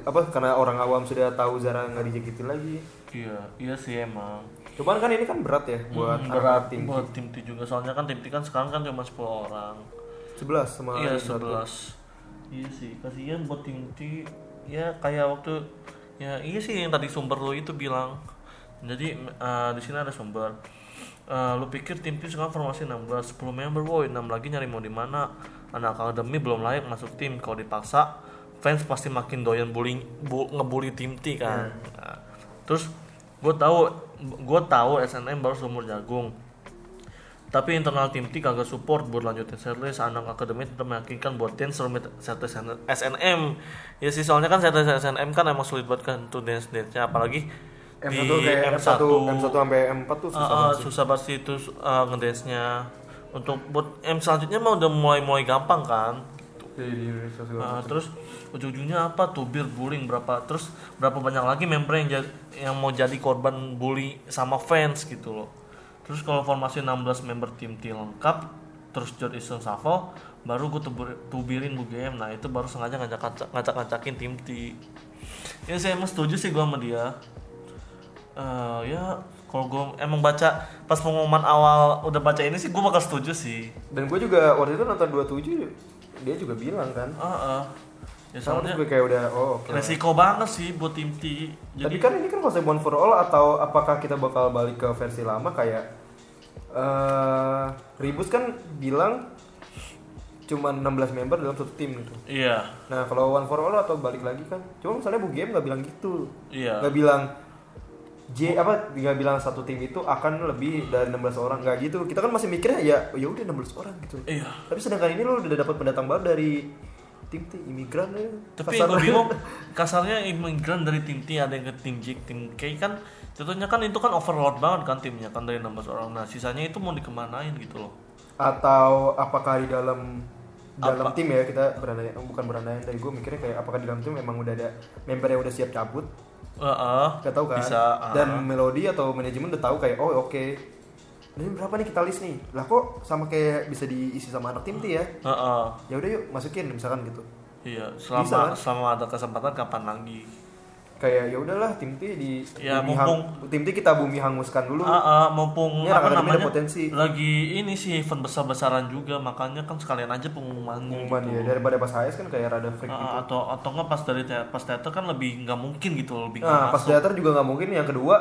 E: apa karena orang awam sudah tahu Zara nggak dijakitin lagi
F: Iya iya sih emang.
E: cuman kan ini kan berat ya buat
F: Hmm,
E: anak
F: berat
E: tim
F: buat tim T juga soalnya kan tim T kan sekarang kan cuma 10 orang
E: 11 sama yang
F: iya
E: satu.
F: 11 iya sih kasihan buat tim T ya kayak waktu ya iya sih yang tadi sumber lo itu bilang jadi eh, di sini ada sumber Eh, lu pikir tim T sekarang formasi 16 10 member woi 6 lagi nyari mau di mana anak akademi belum layak masuk tim kalau dipaksa fans pasti makin doyan bullying bu, ngebully tim T kan Nah, terus gue tahu gue tahu SNM baru seumur jagung tapi internal tim T kagak support buat lanjutin setlist anak akademi tetap meyakinkan buat dance rumit setlist SN- SNM ya sih soalnya kan setlist SNM kan emang sulit buat kan tuh dance dance nya apalagi di
E: M1 kayak M1
F: M1
E: M1 sampai M4 tuh susah
F: Ah, ah,
E: banget sih.
F: susah pasti itu uh, ngedance nya untuk buat M selanjutnya mah udah mulai mulai gampang kan
E: Jadi di Indonesia segala
F: Nah,
E: macam.
F: terus ujung-ujungnya apa tuh bir bullying berapa terus berapa banyak lagi member yang jad- yang mau jadi korban bully sama fans gitu loh terus kalau formasi 16 member tim T lengkap terus Jod Isun Savo baru gue tubirin bu game nah itu baru sengaja ngajak ngacak ngacakin tim T ya saya emang setuju sih gue sama dia Eh, ya kalau gue emang baca pas pengumuman awal udah baca ini sih gue bakal setuju sih
E: dan gue juga waktu itu nonton 27 dia juga bilang kan
F: ah ah. ya
E: sama terus
F: soalnya
E: gue kayak udah oh oke
F: resiko banget sih buat tim T.
E: Tapi
F: Jadi
E: kan ini kan konsep one for all atau apakah kita bakal balik ke versi lama kayak eh Ribus kan bilang cuma 16 member dalam satu tim gitu.
F: iya,
E: Nah, kalau one for all atau balik lagi kan. Cuma misalnya Bu Game nggak bilang gitu.
F: iya.
E: Nggak bilang J apa nggak bilang satu tim itu akan lebih dari 16 orang nggak gitu. Kita kan masih mikirnya ya ya udah 16 orang gitu.
F: Iya.
E: Tapi sedangkan ini lo udah dapat pendatang baru dari tim tim imigran ya.
F: Tapi
E: Kasar.
F: gue bingung kasarnya imigran dari tim T ada yang ke tim J, tim K kan contohnya kan itu kan overload banget kan timnya kan dari 16 orang. Nah, sisanya itu mau dikemanain gitu loh.
E: atau apakah di dalam dalam
F: Apa?
E: tim ya kita berandai bukan berandai dari gue mikirnya kayak apakah di dalam tim memang udah ada member yang udah siap cabut
F: Heeh.
E: gak tahu kan
F: Bisa, ah.
E: dan melodi atau manajemen udah tahu kayak oh oke ini berapa nih kita list nih lah kok sama kayak bisa diisi sama anak tim T ya
F: Heeh.
E: ya udah yuk masukin misalkan gitu
F: Iya,
E: Bisa kan?
F: selama selama ada kesempatan kapan lagi?
E: kayak ya udahlah tim T di
F: Ya,
E: bumi
F: mumpung- Ah,
E: hang- tim T kita bumi hanguskan dulu
F: Heeh, mumpung
E: Ini anak
F: apa
E: akademi ada
F: namanya?
E: potensi.
F: Lagi ini sih event besar-besaran juga, makanya kan sekalian aja pengumumannya.
E: pengumuman
F: gitu.
E: ya daripada pas HS kan kayak rada freak gitu
F: Ah, atau atau nggak pas dari te- pas teater kan lebih nggak mungkin gitu loh, lebih nggak
E: Nah, pas
F: masuk.
E: teater juga nggak mungkin. Yang kedua,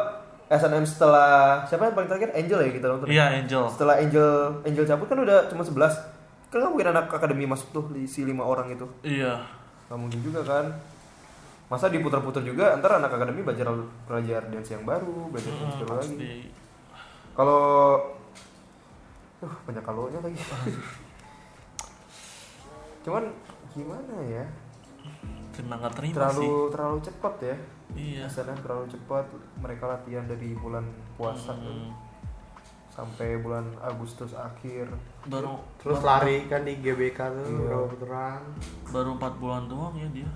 E: SNM setelah siapa yang paling terakhir Angel ya kita nonton.
F: Iya Angel.
E: Setelah Angel Angel cabut kan udah cuma 11. Kan nggak mungkin anak akademi masuk tuh di si lima orang itu.
F: Iya.
E: Nggak mungkin juga kan. masa diputar-putar juga ntar anak akademi belajar belajar dance yang baru belajar dance baru lagi
F: Di-
E: kalau uh, banyak kalonya lagi cuman gimana ya
F: Terima nggak terima
E: terlalu
F: sih.
E: terlalu cepat ya
F: Iya.
E: misalnya terlalu cepat mereka latihan dari bulan puasa
F: Hmm.
E: tuh, sampai bulan Agustus akhir
F: Baru
G: Terus lari kan di GBK tuh,
E: Iya.
G: iya. puteran.
F: baru 4 bulan doang ya dia.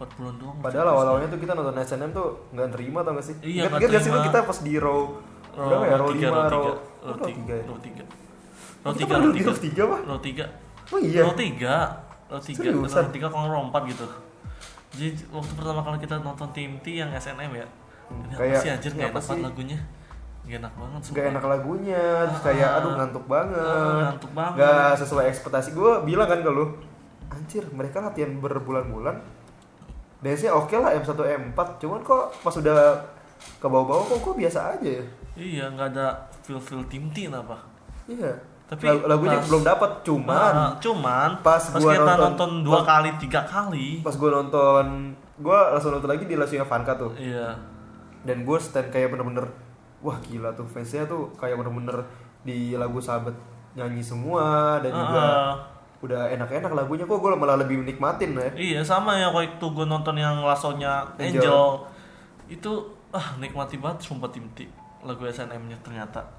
F: 4 bulan doang.
E: padahal awal-awalnya tuh kita nonton SNM tuh nggak nerima tau gak sih Ingat-
F: Iya, nggak
E: ingat nggak sih lu
F: terima.
E: kita pas di row berapa ya row lima row oh, row tiga ya?
F: row tiga
E: Oh,
F: row
E: kita
F: tiga
E: pernah
F: row
E: di
F: tiga
E: row tiga pak
F: row tiga
E: oh iya
F: row tiga row tiga
E: Seriusan?
F: row tiga kalau nggak row empat gitu jadi waktu pertama kali kita nonton tim T yang SNM ya ini apa
E: Hmm, kayak-
F: sih anjir
E: ini
F: nggak
E: apa
F: enak banget
E: sih?
F: lagunya nggak enak banget
E: nggak
F: sumpah.
E: enak lagunya terus kayak aduh ngantuk banget
F: Ah, ngantuk banget.
E: nggak sesuai ekspektasi gue bilang kan ke lu anjir mereka latihan berbulan-bulan dance oke lah M1 M4 cuman kok pas udah ke bawah-bawah kok kok biasa aja ya
F: iya nggak ada feel feel tim T apa
E: iya
F: Tapi
E: Lagu- lagunya
F: pas-
E: belum dapat cuman
F: Nah, cuman
E: pas gua
F: kita
E: nonton-
F: nonton dua
E: pas-
F: kali tiga kali
E: pas gue nonton gue langsung nonton lagi di Lasunya Vanka tuh
F: iya
E: dan gue stand kayak bener-bener wah gila tuh fansnya tuh kayak bener-bener di lagu sahabat nyanyi semua dan juga
F: Ah.
E: udah enak-enak lagunya kok gue malah lebih menikmatin ya
F: Iya sama ya waktu gue nonton yang lasonya
E: Angel.
F: Angel. itu ah nikmati banget sumpah tim T lagu SNM-nya ternyata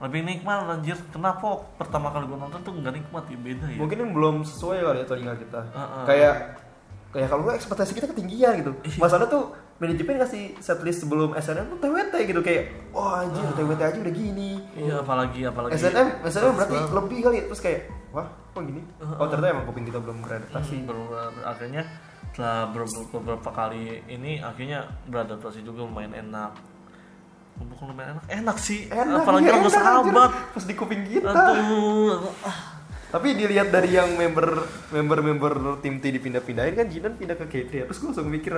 F: lebih nikmat anjir kenapa pertama kali gue nonton tuh nggak nikmat ya beda ya
E: mungkin yang belum sesuai kali ya telinga kita
F: Ah, Iya. ah.
E: kayak kayak kalau nggak ekspektasi kita ketinggian gitu masalah tuh manajemen ngasih setlist sebelum SNM tuh TWT gitu kayak wah anjir TWT aja udah gini
F: Ah. iya apalagi apalagi
E: SNM SNM berarti lebih kali ya. terus kayak wah kok gini oh ternyata emang kuping kita belum beradaptasi
F: Hmm, baru- baru- akhirnya setelah ber- beberapa kali ini akhirnya beradaptasi juga lumayan enak bukan lumayan enak enak sih
E: enak
F: apalagi
E: ya, enak,
F: lagu
E: anjir. Ah.
F: sahabat
E: pas di kuping kita
F: aduh ah.
E: Tapi dilihat dari yang member member member tim T dipindah-pindahin kan Jinan pindah ke KT ya. Terus gue langsung mikir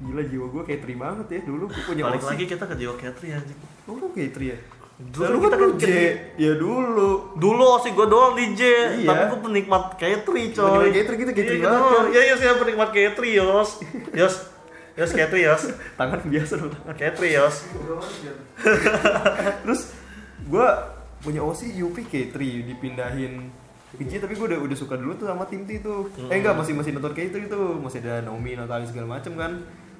E: gila jiwa gue kayak tri banget ya dulu gue punya
F: balik
E: Osi.
F: lagi kita ke Jiwa Catri anjing
E: Lu kan kayak tri ya.
F: Dulu
E: Dulu
F: kita
E: kan lu
F: kan
E: J. Ya dulu.
F: Dulu sih gue doang DJ,
E: Iya.
F: tapi gue penikmat Katri coy.
E: Penikmat Katri, gitu, Katri
F: Iya,
E: banget,
F: gitu.
E: kan?
F: Iya, iya, saya penikmat Katri, Yos. Yos. Yos Katri, Yos.
E: Tangan biasa dulu.
F: Katri, Yos.
E: Terus gue punya Osi Yupi K3 dipindahin ke J tapi gue udah udah suka dulu tuh sama tim T tuh. Eh enggak
F: Hmm.
E: masih masih nonton K3 tuh. Masih ada Naomi, Natalie segala macem kan.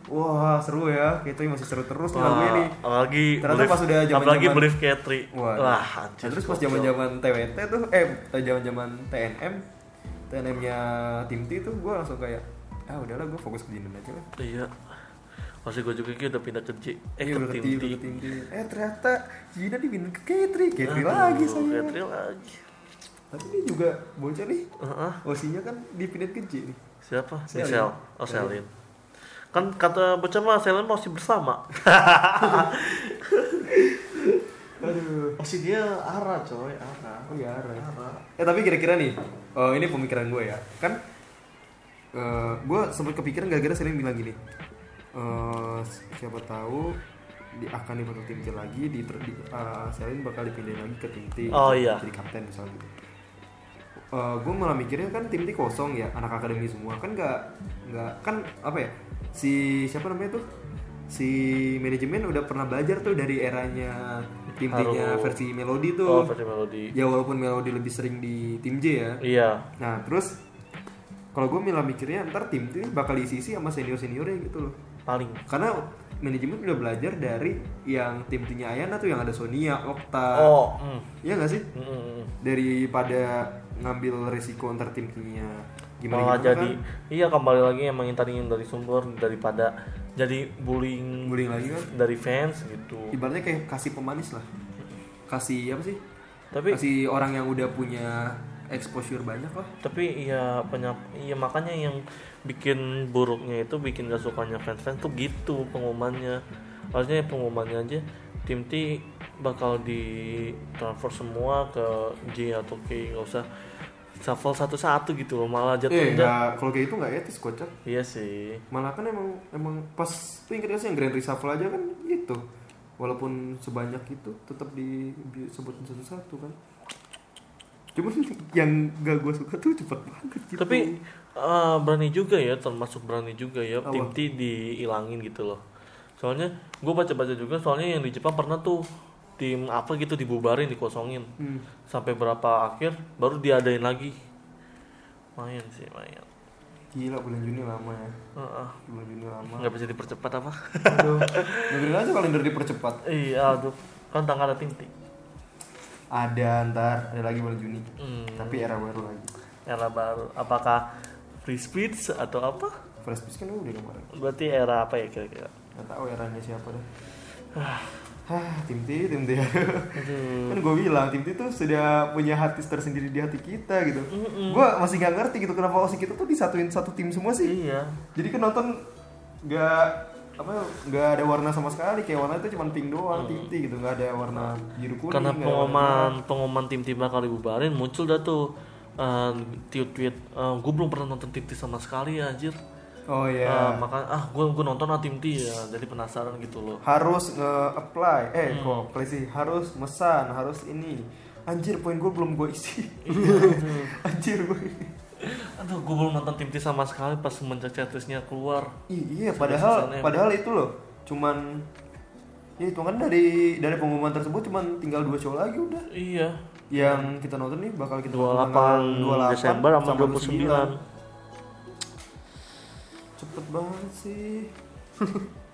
E: Wah, seru ya. K3 masih seru terus nih lagunya nih.
F: Wah, Apalagi
E: Ternyata
F: belief-
E: pas udah zaman-zaman-
F: apalagi belief Katri.
E: Wah,
F: Wah,
E: Nah,
F: anjir.
E: terus pas zaman zaman TWT tuh, eh zaman zaman TNM, TNM-nya tim T tuh gue langsung kayak, ah udahlah gue fokus ke Jinden aja lah.
F: Iya. Masih gue juga kayak udah pindah ke J. Eh,
E: Iya,
F: ke
E: udah tim
F: tim T.
E: udah ke tim T. Eh ternyata Jinden dipindah ke Katri, Katri lagi
F: Aduh,
E: saya.
F: Katri lagi.
E: Tapi dia juga bocah nih,
F: Heeh.
E: osinya kan dipindah ke J nih.
F: Siapa?
E: Selin.
F: Michelle. Oh, Selin. Kan kata bocah mah Selin masih bersama.
E: Aduh,
F: Masih dia arah coy, arah.
E: oh ya,
F: Ah,
E: Eh tapi kira-kira nih, eh, ini pemikiran gue ya, kan eh gue sempat kepikiran gara-gara sering bilang gini eh siapa tahu di, akan dibentuk tim T lagi di, di eh, Selin bakal dipindahin lagi ke tim T
F: Oh, iya.
E: jadi kapten misalnya gitu gue malah mikirnya kan tim T kosong ya anak akademi semua kan nggak nggak kan apa ya si siapa namanya tuh si manajemen udah pernah belajar tuh dari eranya tim T-nya
F: Haru.
E: versi Melody tuh
F: Oh, versi melodi.
E: ya walaupun Melody lebih sering di tim J ya
F: Iya.
E: Nah terus kalau gue milah mikirnya ntar tim ini bakal diisi sama senior seniornya gitu loh.
F: paling
E: Karena manajemen udah belajar dari yang tim timnya Ayana tuh yang ada Sonia, Okta.
F: oh mm,
E: Iya gak sih?
F: mm, mm, mm.
E: Daripada ngambil resiko ntar tim timnya gimana
F: malah
E: gimana
F: jadi
E: kan.
F: iya kembali lagi yang mengintariin dari sumber daripada jadi bullying
E: Bullying lagi kan.
F: dari fans gitu
E: Ibaratnya kayak kasih pemanis lah. Kasih apa sih?
F: tapi
E: kasih orang yang udah punya exposure banyak lah.
F: tapi iya penyap iya makanya yang bikin buruknya itu bikin gak sukanya fans fans tuh gitu pengumumannya harusnya pengumumannya aja tim T bakal di transfer semua ke J atau K nggak usah shuffle satu-satu gitu loh malah jatuh
E: Eh, nggak- kalau kayak itu nggak etis kocak.
F: iya sih
E: malah kan emang emang pas tuh ingat nggak sih yang grand reshuffle aja kan gitu walaupun sebanyak itu tetap disebutin satu-satu kan cuman yang gak gue suka tuh cepet banget gitu
F: Tapi eh, berani juga ya, termasuk berani juga ya
E: Apa?
F: tim T dihilangin gitu loh. Soalnya gue baca-baca juga, soalnya yang di Jepang pernah tuh tim apa gitu dibubarin, dikosongin. Sampai berapa akhir baru diadain lagi. Main sih, main.
E: gila bulan Juni lama ya
F: Heeh.
E: bulan Juni lama
F: nggak bisa dipercepat apa?
E: aduh dengerin aja kalender dipercepat
F: iya, aduh. Kan tanggal ada tim T.
E: ada ntar ada lagi bulan Juni
F: Hmm.
E: tapi era baru lagi
F: Era baru. Apakah free speech atau apa?
E: Fresh Prince kan udah kemarin
F: Berarti era apa ya kira-kira?
E: Gak tau eranya ya siapa deh
F: Ah.
E: Hah, tim T, tim T Kan gue bilang, tim T tuh sudah punya hati tersendiri di hati kita gitu Gue masih gak ngerti gitu kenapa wasit kita tuh disatuin satu tim semua sih
F: Iya.
E: Jadi kan nonton gak apa nggak ada warna sama sekali kayak warna itu cuma pink doang tim T gitu nggak ada warna biru kuning
F: karena
E: nggak ada warna merah.
F: pengumuman pengumuman tim tim bakal dibubarin muncul dah tuh eh, tweet tweet gue belum pernah nonton tim T sama sekali ya, anjir
E: oh ya
F: Eh, maka ah gue gue nonton lah tim T ya jadi penasaran gitu loh
E: harus nge-apply eh
F: Hmm.
E: kok apply sih harus mesan harus ini anjir poin gue belum gue isi
F: Iya,
E: anjir gue
F: aduh gue belum nonton tim T sama sekali pas semenjak chatlisnya keluar
E: Iya,
F: Sampai
E: padahal
F: season M.
E: padahal itu loh, cuman ya itu kan dari dari pengumuman tersebut cuman tinggal dua show lagi udah.
F: iya
E: Yang kita nonton nih bakal kita
F: 28 Desember sama 29.
E: Cepet banget sih.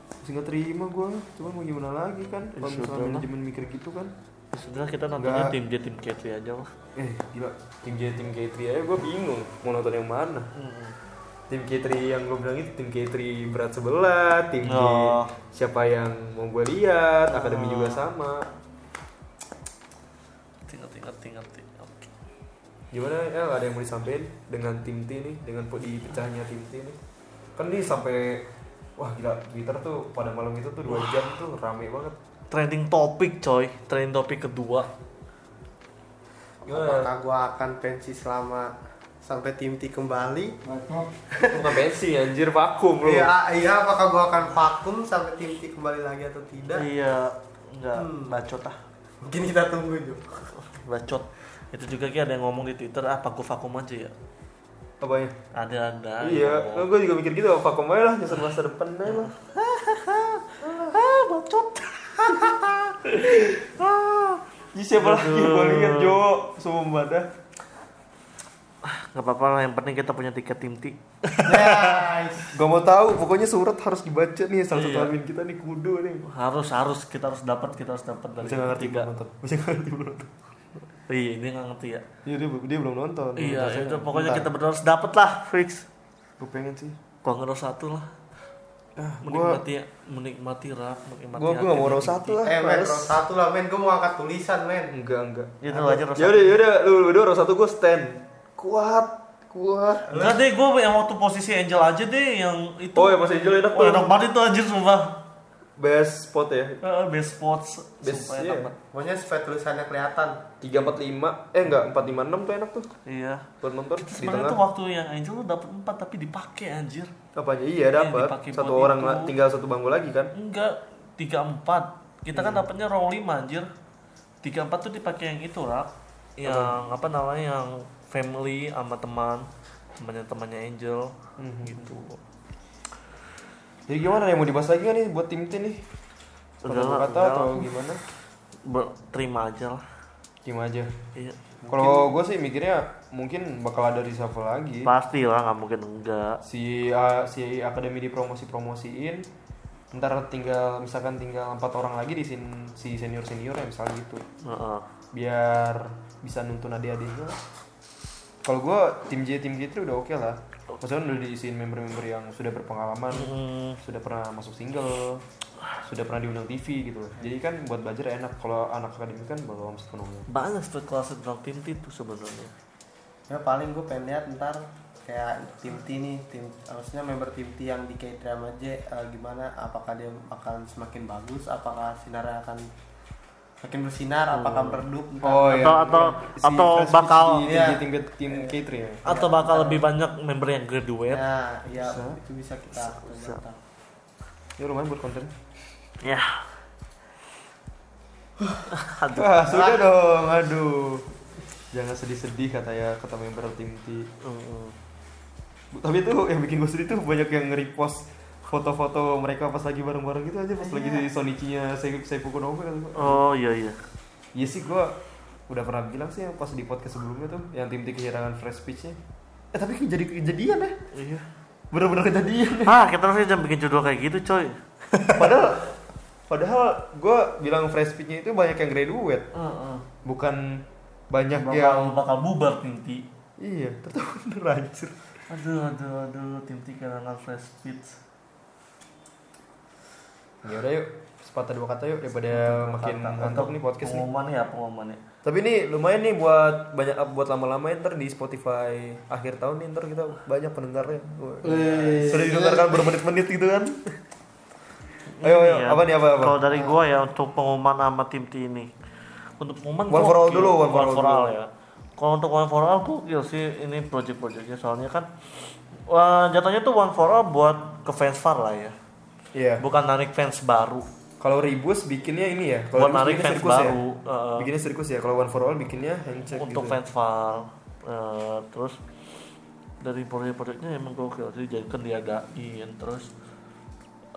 E: Masih nggak terima gue, cuman mau gimana lagi kan? Kalau misalnya manajemen mikir gitu kan,
F: Ya sudah kita nontonnya
E: Nggak.
F: tim J tim K3 aja lah
E: eh gila.
J: tim J tim K3 aja gue bingung mau nonton yang mana tim K3 yang gue bilang itu tim K3 berat sebelah tim J
F: Oh.
J: siapa yang mau gue lihat akademi juga sama
F: tinggal tinggal tinggal tinggal Oke.
J: gimana ya ada yang mau disampaikan dengan tim T nih dengan po- dipecahnya tim T nih kan nih sampai wah gila Twitter tuh pada malam itu tuh dua jam tuh rame banget
F: trending topik coy trending topik kedua
J: gimana
G: Apakah gua akan pensi selama sampai tim T kembali?
J: bukan bensin anjir
F: Oh,
J: vakum lu
G: Iya, iya. Apakah gua akan vakum sampai tim T kembali lagi atau tidak?
F: iya
E: Hmm.
F: nggak bacot ah
G: Mungkin kita tunggu yuk.
F: bacot itu juga kayak ada yang ngomong di twitter ah vakum vakum aja ya
J: apanya
F: ada ada
J: iya
F: yang
E: oh,
F: ngomong.
J: gue juga mikir gitu vakum aja lah nyusun masa depan aja lah
F: ah bacot
E: Ih, siapa lagi gue lihat Jo, semua membadah.
F: nggak apa-apa lah yang penting kita punya tiket tim T
E: Gak mau tahu, pokoknya surat harus dibaca nih salah satu
F: Iya.
E: admin kita nih kudu nih.
F: harus harus kita harus dapat kita harus dapat dari
E: Bisa nggak ngerti
F: tiga.
E: belum nonton. Bisa nggak ngerti belum nonton.
F: iya ini nggak ngerti ya
E: Iya dia, dia belum nonton.
F: iya itu pokoknya kita berdua harus dapat lah fix
E: Gue pengen sih.
F: kalau nggak raw satu lah
E: Ah, gua
F: menikmati ya, menikmati rap menikmati
E: gua gua
F: hati
E: gak mau
F: menikmati-
E: row satu lah.
G: Eh, men, Iya,
E: males.
G: row satu lah, men. Gua mau angkat tulisan, men.
E: Enggak enggak.
F: Ya udah aja row
E: Yaudah yaudah lu berdua row satu gue stand. Kuat kuat.
F: Enggak deh, gue yang waktu posisi Angel aja deh yang itu.
E: Oh ya Mas Angel enak
F: Wah, enak
E: tuh.
F: banget itu anjir sumpah.
E: Best spot ya.
F: Eh, best spots.
E: Best
F: sumpah enak
E: ya.
F: banget.
G: Pokoknya supaya tulisannya kelihatan.
E: Tiga empat lima eh enggak empat lima enam tuh enak tuh.
F: Iya.
E: Buat nonton Gitu kan. di
F: Sebenarnya tuh
E: tengah.
F: waktu yang Angel tuh dapat 4 tapi dipakai anjir.
E: Apanya iya
F: dipakai
E: dapat. Satu
F: buat
E: orang
F: itu.
E: la- tinggal satu bangku lagi kan.
F: Enggak, 3 4. Kita kan dapatnya row 5 anjir. 3 4 tuh dipakai yang itu, Rak. Yang apa namanya yang family sama teman temannya temannya Angel gitu.
E: Jadi gimana yang mau dibahas lagi kan nih buat tim T nih?
F: Udah lah,
E: Satu kata
F: udah lah.
E: atau gimana?
F: Ber- terima aja lah.
E: Tim aja.
F: Iya.
E: Kalau gue sih mikirnya mungkin bakal ada reshuffle lagi.
F: Pasti lah, nggak mungkin enggak.
E: si uh, si akademi dipromosi-promosiin ntar tinggal misalkan tinggal empat orang lagi di sin, si senior seniornya misalnya gitu
F: Heeh.
E: biar bisa nuntun adik-adiknya kalau gue tim J tim G3 udah oke lah maksudnya udah diisiin member-member yang sudah berpengalaman
F: Hmm.
E: sudah pernah masuk single sudah pernah diundang TV gitu loh jadi kan buat belajar enak kalau anak akademi kan belum sepenuhnya
F: banyak tuh kelas tentang tim T tuh sebenarnya
G: Ya paling gue pengen lihat ntar kayak tim T nih, tim harusnya member tim T yang di K drama J eh, gimana? Apakah dia akan semakin bagus? Apakah sinarnya akan makin bersinar? Apakah meredup? Ntar
E: oh
F: Atau- atau- atau
E: Fresh Prince
F: bakal-
E: di
G: Iya.
E: tim J tim K3 ya
F: atau bakal lebih banyak member yang graduate
G: Nah, ya itu bisa kita coba ntar.
E: ya lumayan buat konten
F: ya
E: Wah, sudah dong, aduh. jangan sedih-sedih kata ya kata member tim T Bu- tapi itu yang bikin gue sedih tuh banyak yang nge-repost foto-foto mereka pas lagi bareng-bareng gitu aja pas lagi si Sonichi-nya Sei- Seifuku Nobe kata gua.
K: Oh iya iya.
E: Iya sih gue udah pernah bilang sih yang pas di podcast sebelumnya tuh yang tim T kehilangan fresh speech-nya eh tapi jadi kejadian ya
K: Iya.
E: bener-bener kejadian ya
K: Ah, kita harusnya jangan bikin judul kayak gitu, coy.
E: padahal padahal gue bilang fresh speech-nya itu banyak yang graduate bukan banyak yang
F: bakal bakal bubar tim T.
E: iya tetap bener anjir
F: Aduh aduh aduh tim T kehilangan fresh speech.
E: ya udah yuk sepatah dua kata yuk daripada makin
F: Kata-
E: ngantuk
F: untuk
E: nih podcast nih
F: pengumuman ya pengumuman ya.
E: tapi ini lumayan nih buat banyak buat lama-lama ya, ntar di Spotify akhir tahun nih ntar kita banyak pendengarnya sudah didengarkan bermenit-menit gitu kan ayo ayo
K: Iya.
E: apa nih apa apa
K: Kalau dari gua ya untuk pengumuman sama tim T ini. Untuk pengumuman
E: One for all
K: gokil.
E: dulu, one for all dulu.
K: ya. Kalau untuk one for all gokil sih ini project-projectnya soalnya kan wah, jatuhnya tuh one for all buat ke fans far lah ya.
E: iya
K: Bukan narik fans baru.
E: kalau ribus bikinnya ini ya
K: Buat
E: kalau ribus
K: narik
E: bikinnya
K: fans
E: sirkus ya
K: baru, eh.
E: bikinnya sirkus ya kalau one for all bikinnya handshake
K: untuk
E: gitu ya.
K: fans far. Eh, terus dari project-projectnya emang gokil sih jadi kan diadain terus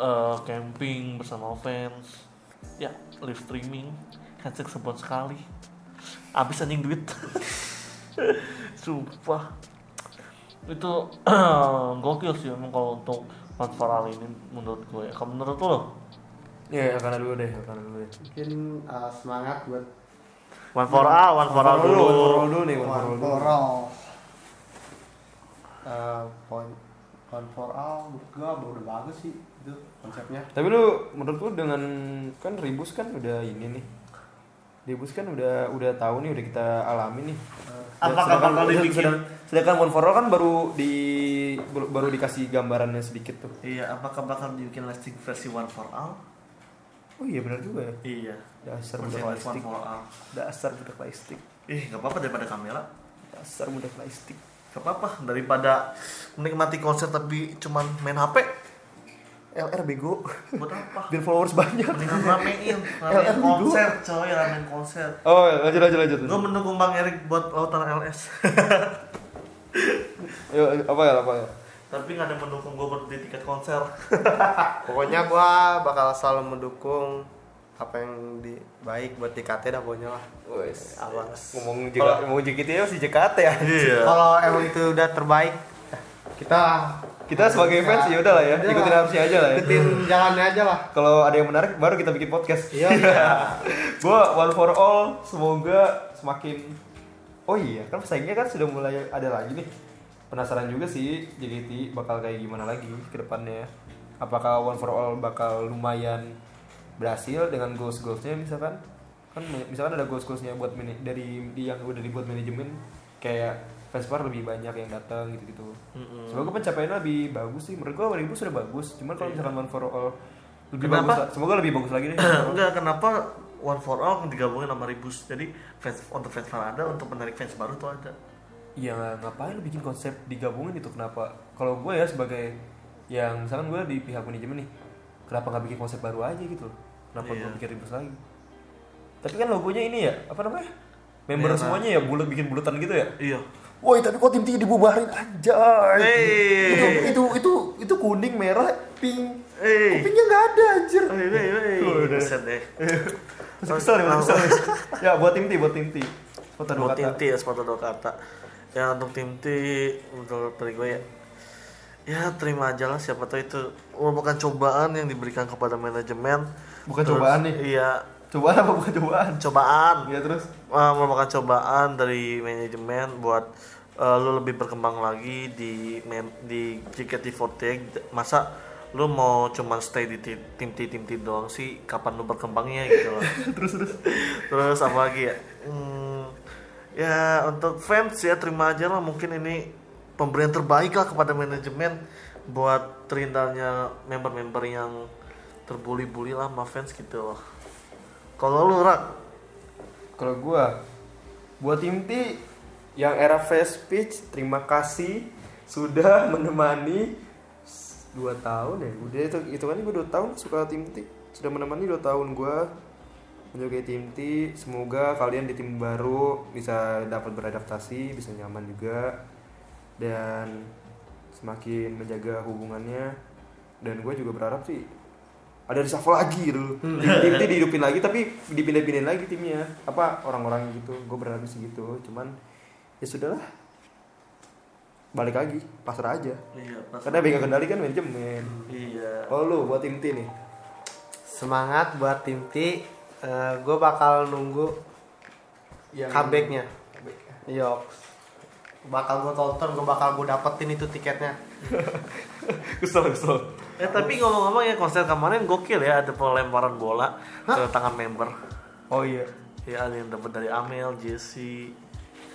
K: eh, camping bersama fans ya live streaming handshake sebulan sekali abis anjing duit sumpah itu gokil sih emang kalau untuk fans faral ini menurut gue ya kalau menurut lo
E: iya ya, karena dulu deh karena dulu deh
L: mungkin uh, semangat buat
K: one for all one for all
E: One for
K: dulu
E: all one for all dulu nih one for all
L: one
E: dulu
L: for all
E: Eh,
L: uh, point one for all menurut gua udah bagus sih itu konsepnya
E: Tapi lu menurut lu dengan kan ribus kan udah ini nih. Ribus kan udah udah tahu nih udah kita alami nih. Dan
F: Apakah
E: sedangkan-
F: bakal dibikin?
E: sedang- Sedangkan One for All kan baru di baru, baru dikasih gambarannya sedikit tuh.
F: Iya apakah bakal dibikin lasting versi one for all?
E: Oh iya benar juga ya.
F: Iya.
E: Dasar
F: Versi
E: budak
F: one
E: plastik.
F: for all.
E: Dasar budak plastik.
F: Ih nggak apa-apa daripada kamera.
E: Dasar budak plastik.
F: Gak apa-apa daripada menikmati konser tapi cuman main HP
E: LR bego.
F: buat apa?
E: Biar followers banyak.
F: Mendingan ramein, ramein
E: LR
F: konser coy, ramein konser.
E: Oh, lanjut lanjut lanjut.
F: Gue mendukung Bang Erik buat lautan LS.
E: Ayo apa ya apa ya?
F: tapi nggak ada yang mendukung gue buat beli tiket konser.
G: Pokoknya gua bakal selalu mendukung apa yang di baik buat DKT dah pokoknya lah.
E: Wes.
G: Awas.
E: Ngomong juga ngomong JKT ya si JKT ya.
F: Iya.
G: Kalau emang itu udah terbaik, kita
E: Kita sebagai fans ya udahlah ya, ikutin harusnya aja lah ya.
G: ikutin jalannya aja lah.
E: kalau ada yang menarik baru kita bikin podcast. Iya. Gua one for all semoga semakin Oh iya, kan pesaingnya kan sudah mulai ada lagi nih. Penasaran juga sih JKT bakal kayak gimana lagi ke depannya. Apakah one for all bakal lumayan berhasil dengan goals goalsnya misalkan? Kan mi- misalkan ada goals goalsnya buat mana- dari di- yang udah dibuat manajemen kayak Vespa lebih banyak yang datang gitu-gitu. Semoga pencapaiannya lebih bagus sih. Menurut gua 2000 sudah bagus. Cuman kalau misalkan one for all lebih
F: Iya. Kenapa?
E: bagus. la- Semoga lebih bagus lagi deh.
F: Enggak, kenapa One for All digabungin sama Ribus? Jadi fans untuk fans fans ada, untuk menarik fans baru tuh ada.
E: ya ngapain lu bikin konsep digabungin itu kenapa kalau gue ya sebagai yang misalkan gue di pihak manajemen nih kenapa nggak bikin konsep baru aja gitu loh? kenapa
F: Iya.
E: gue bikin ribut lagi tapi kan logonya ini ya apa namanya member semuanya ya bulat bikin bulatan gitu ya
F: Iya.
E: woi tapi kok tim tiga dibubarin anjay itu, itu itu itu kuning merah pink kupingnya nggak ada anjir
F: Set deh.
E: Masih kesel nih, masih kesel nih. ya buat tim T, buat tim T. Foto dua
F: Buat tim
E: kata.
F: T ya, sepatu dua kata. Ya untuk tim T, menurut dari gue ya, ya terima aja lah siapa tahu itu merupakan cobaan yang diberikan kepada manajemen.
E: Bukan cobaan nih.
F: Iya,
E: Cobaan apa bukan cobaan?
F: cobaan.
E: Ya terus.
F: uh, merupakan cobaan dari manajemen buat uh, lu lebih berkembang lagi di mem- di JKT48 masa lu mau cuman stay di ti- tim T tim T doang sih kapan lu berkembangnya gitu loh terus terus terus apa lagi ya Hmm, ya untuk fans ya terima aja lah mungkin ini pemberian terbaik lah kepada manajemen buat terhindarnya member-member yang terbuli-buli lah sama fans gitu loh kalau lu rak
E: Kalau gua buat tim T yang era fast pitch, terima kasih sudah menemani 2 tahun ya. Udah itu itu kan gua 2 tahun suka tim T. Sudah menemani 2 tahun gua Untuk kayak tim T, semoga kalian di tim baru bisa dapat beradaptasi, bisa nyaman juga dan semakin menjaga hubungannya. Dan gue juga berharap sih ada reshuffle lagi dulu. Tim T dihidupin lagi tapi dipindah-pindahin lagi timnya. Apa orang-orang gitu. Gue berharap sih gitu. Cuman ya sudahlah. Balik lagi, pasrah aja.
F: Iya, pas-
E: Karena yang kendali kan manajemen.
F: Iya.
E: Oh lu buat tim T nih.
G: Semangat buat tim T.
F: Eh,
G: gue bakal nunggu
E: Yang
G: comebacknya.
F: Iya.
G: Yok. Bakal gue tonton, gue bakal gue dapetin itu tiketnya.
E: kesel kesel.
F: Eh tapi ngomong-ngomong ya konser kemarin gokil ya ada pelemparan bola ke tangan member.
E: Oh iya.
F: Ya ada yang dapat dari Amel, Jesse.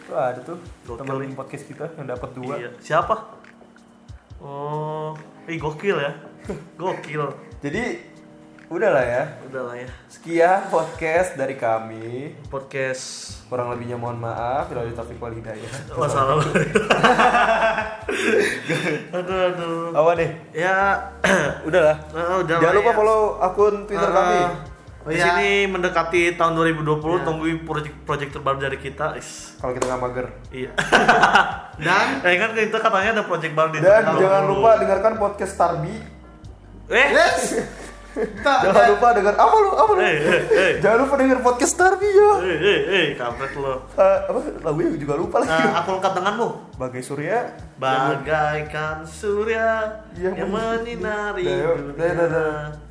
E: Tuh ada tuh
F: Gokil
E: teman
F: nih.
E: podcast kita yang dapat dua.
F: Iya. Siapa? Oh, ih gokil ya. Gokil.
E: Jadi udahlah ya.
F: Udah lah ya.
E: Sekian podcast dari kami.
F: Podcast
E: Kurang lebihnya mohon maaf. Bila Taufik wal hidayah.
F: masalah. aduh aduh.
E: Apa deh?
F: Ya,
E: Udahlah.
F: eh, udah lah
E: Jangan lupa
F: ya.
E: follow akun Twitter kami. Oh Iya.
F: Ah, di
G: iya.
F: sini mendekati tahun 2020 tungguin project project terbaru dari kita. Is.
E: Kalau kita nggak mager.
F: Iya. Dan eh kan kita katanya ada project baru di
E: Dan
F: tahun
E: jangan
F: 2020.
E: lupa dengarkan podcast Tarbi.
F: Eh,
E: Yes. jangan lupa dengar apa lu? Apa lu?
F: eh, eh, eh.
E: Jangan lupa dengar podcast Tarbi ya.
F: Eh, eh, eh, kampret lo.
E: Eh, apa lagunya juga lupa lagi.
F: Nah, aku lengkap denganmu.
E: Bagai surya.
F: Bagaikan surya
E: Yang
F: yang menyinari
E: Dah, yuk. Dah, dah, dah.
F: dunia.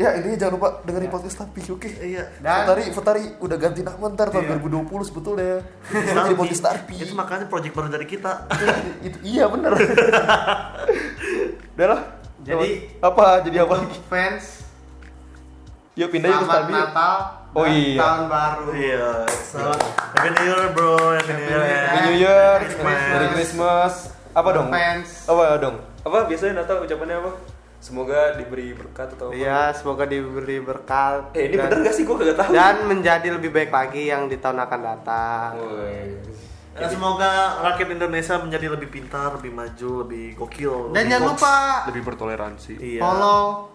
E: Ya ini jangan lupa dengerin podcast Tarbi, oke?
F: Iya.
G: Dan-
E: Futari, Futari udah ganti nama ntar tahun 2020 sebetulnya.
F: Iya.
E: Jadi podcast Tarbi.
F: Itu makanya project baru dari kita.
E: Itu iya bener. Udah lah.
G: Jadi-
E: apa? Jadi apa lagi?
G: Fans,
E: Yuk pindah yuk ke
G: selamat
E: Tarbi. yuk.
G: Natal,
E: Oh
G: dan
E: iya.
G: tahun baru.
F: Iya. Selamat. Happy New Year, bro. Happy New Year.
G: Happy
E: Happy
F: ya.
E: New Year,
G: Merry Christmas.
E: Merry Christmas. Apa dong?
M: ya?
G: Fans.
E: Apa dong?
M: Apa biasanya Natal ucapannya apa? Semoga diberi berkat atau apa?
G: Iya, semoga diberi berkat.
M: Eh ini
G: dan-
M: bener gak sih? Gue kagak tahu.
G: dan menjadi lebih baik lagi yang di tahun akan datang.
M: Woi.
F: Ya, semoga rakyat Indonesia menjadi lebih pintar, lebih maju, lebih gokil. lebih
G: Dan jangan
F: woke.
G: lupa
E: Lebih bertoleransi.
F: iya.
G: follow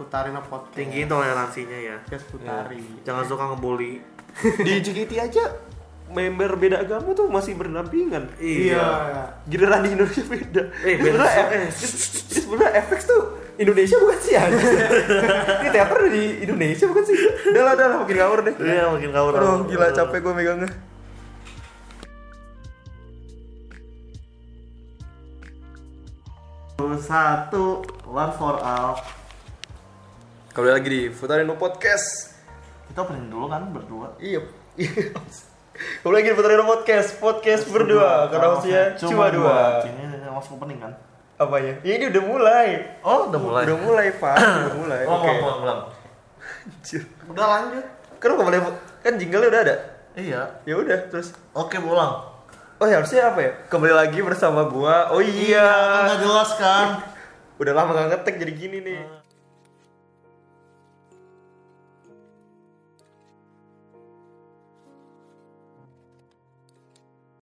G: Putarina Podcast.
F: tinggi toleransinya ya. Iya.
G: Podcast Putari.
F: Jangan suka ngebully.
E: Di JKT aja member beda agama tuh masih berdampingan.
G: Iya.
E: Giliran di Indonesia beda. Eh,
F: Eh,
E: sebenarnya
F: beda.
E: eh, sebenarnya FX tuh Indonesia bukan sih ya. Ini teater di Indonesia bukan sih. Udah lah, udah lah, makin ngawur deh.
F: Iya, makin ngawur.
E: Aduh, gila capek gue megangnya.
F: Satu, one for all.
E: Kembali lagi di Futarino Podcast.
F: Kita opening dulu kan berdua.
E: Iya. Kembali lagi di Futarino Podcast, podcast berdua. Karena maksudnya cuma dua.
F: Ini langsung opening kan?
E: Apanya? Ya ini udah mulai.
F: Oh, udah mulai.
E: Udah mulai, Pak. Udah mulai.
F: Oh,
E: Oke.
F: ulang, ulang.
E: Anjir.
F: Udah lanjut.
E: Kan lu nggak boleh kan jingle udah ada.
F: Iya.
E: Ya udah, terus
F: Oke, ulang.
E: Oh ya harusnya apa ya? Kembali lagi bersama gua. Oh iya.
F: Nggak jelas kan?
E: Udah lama gak ngetek jadi gini nih.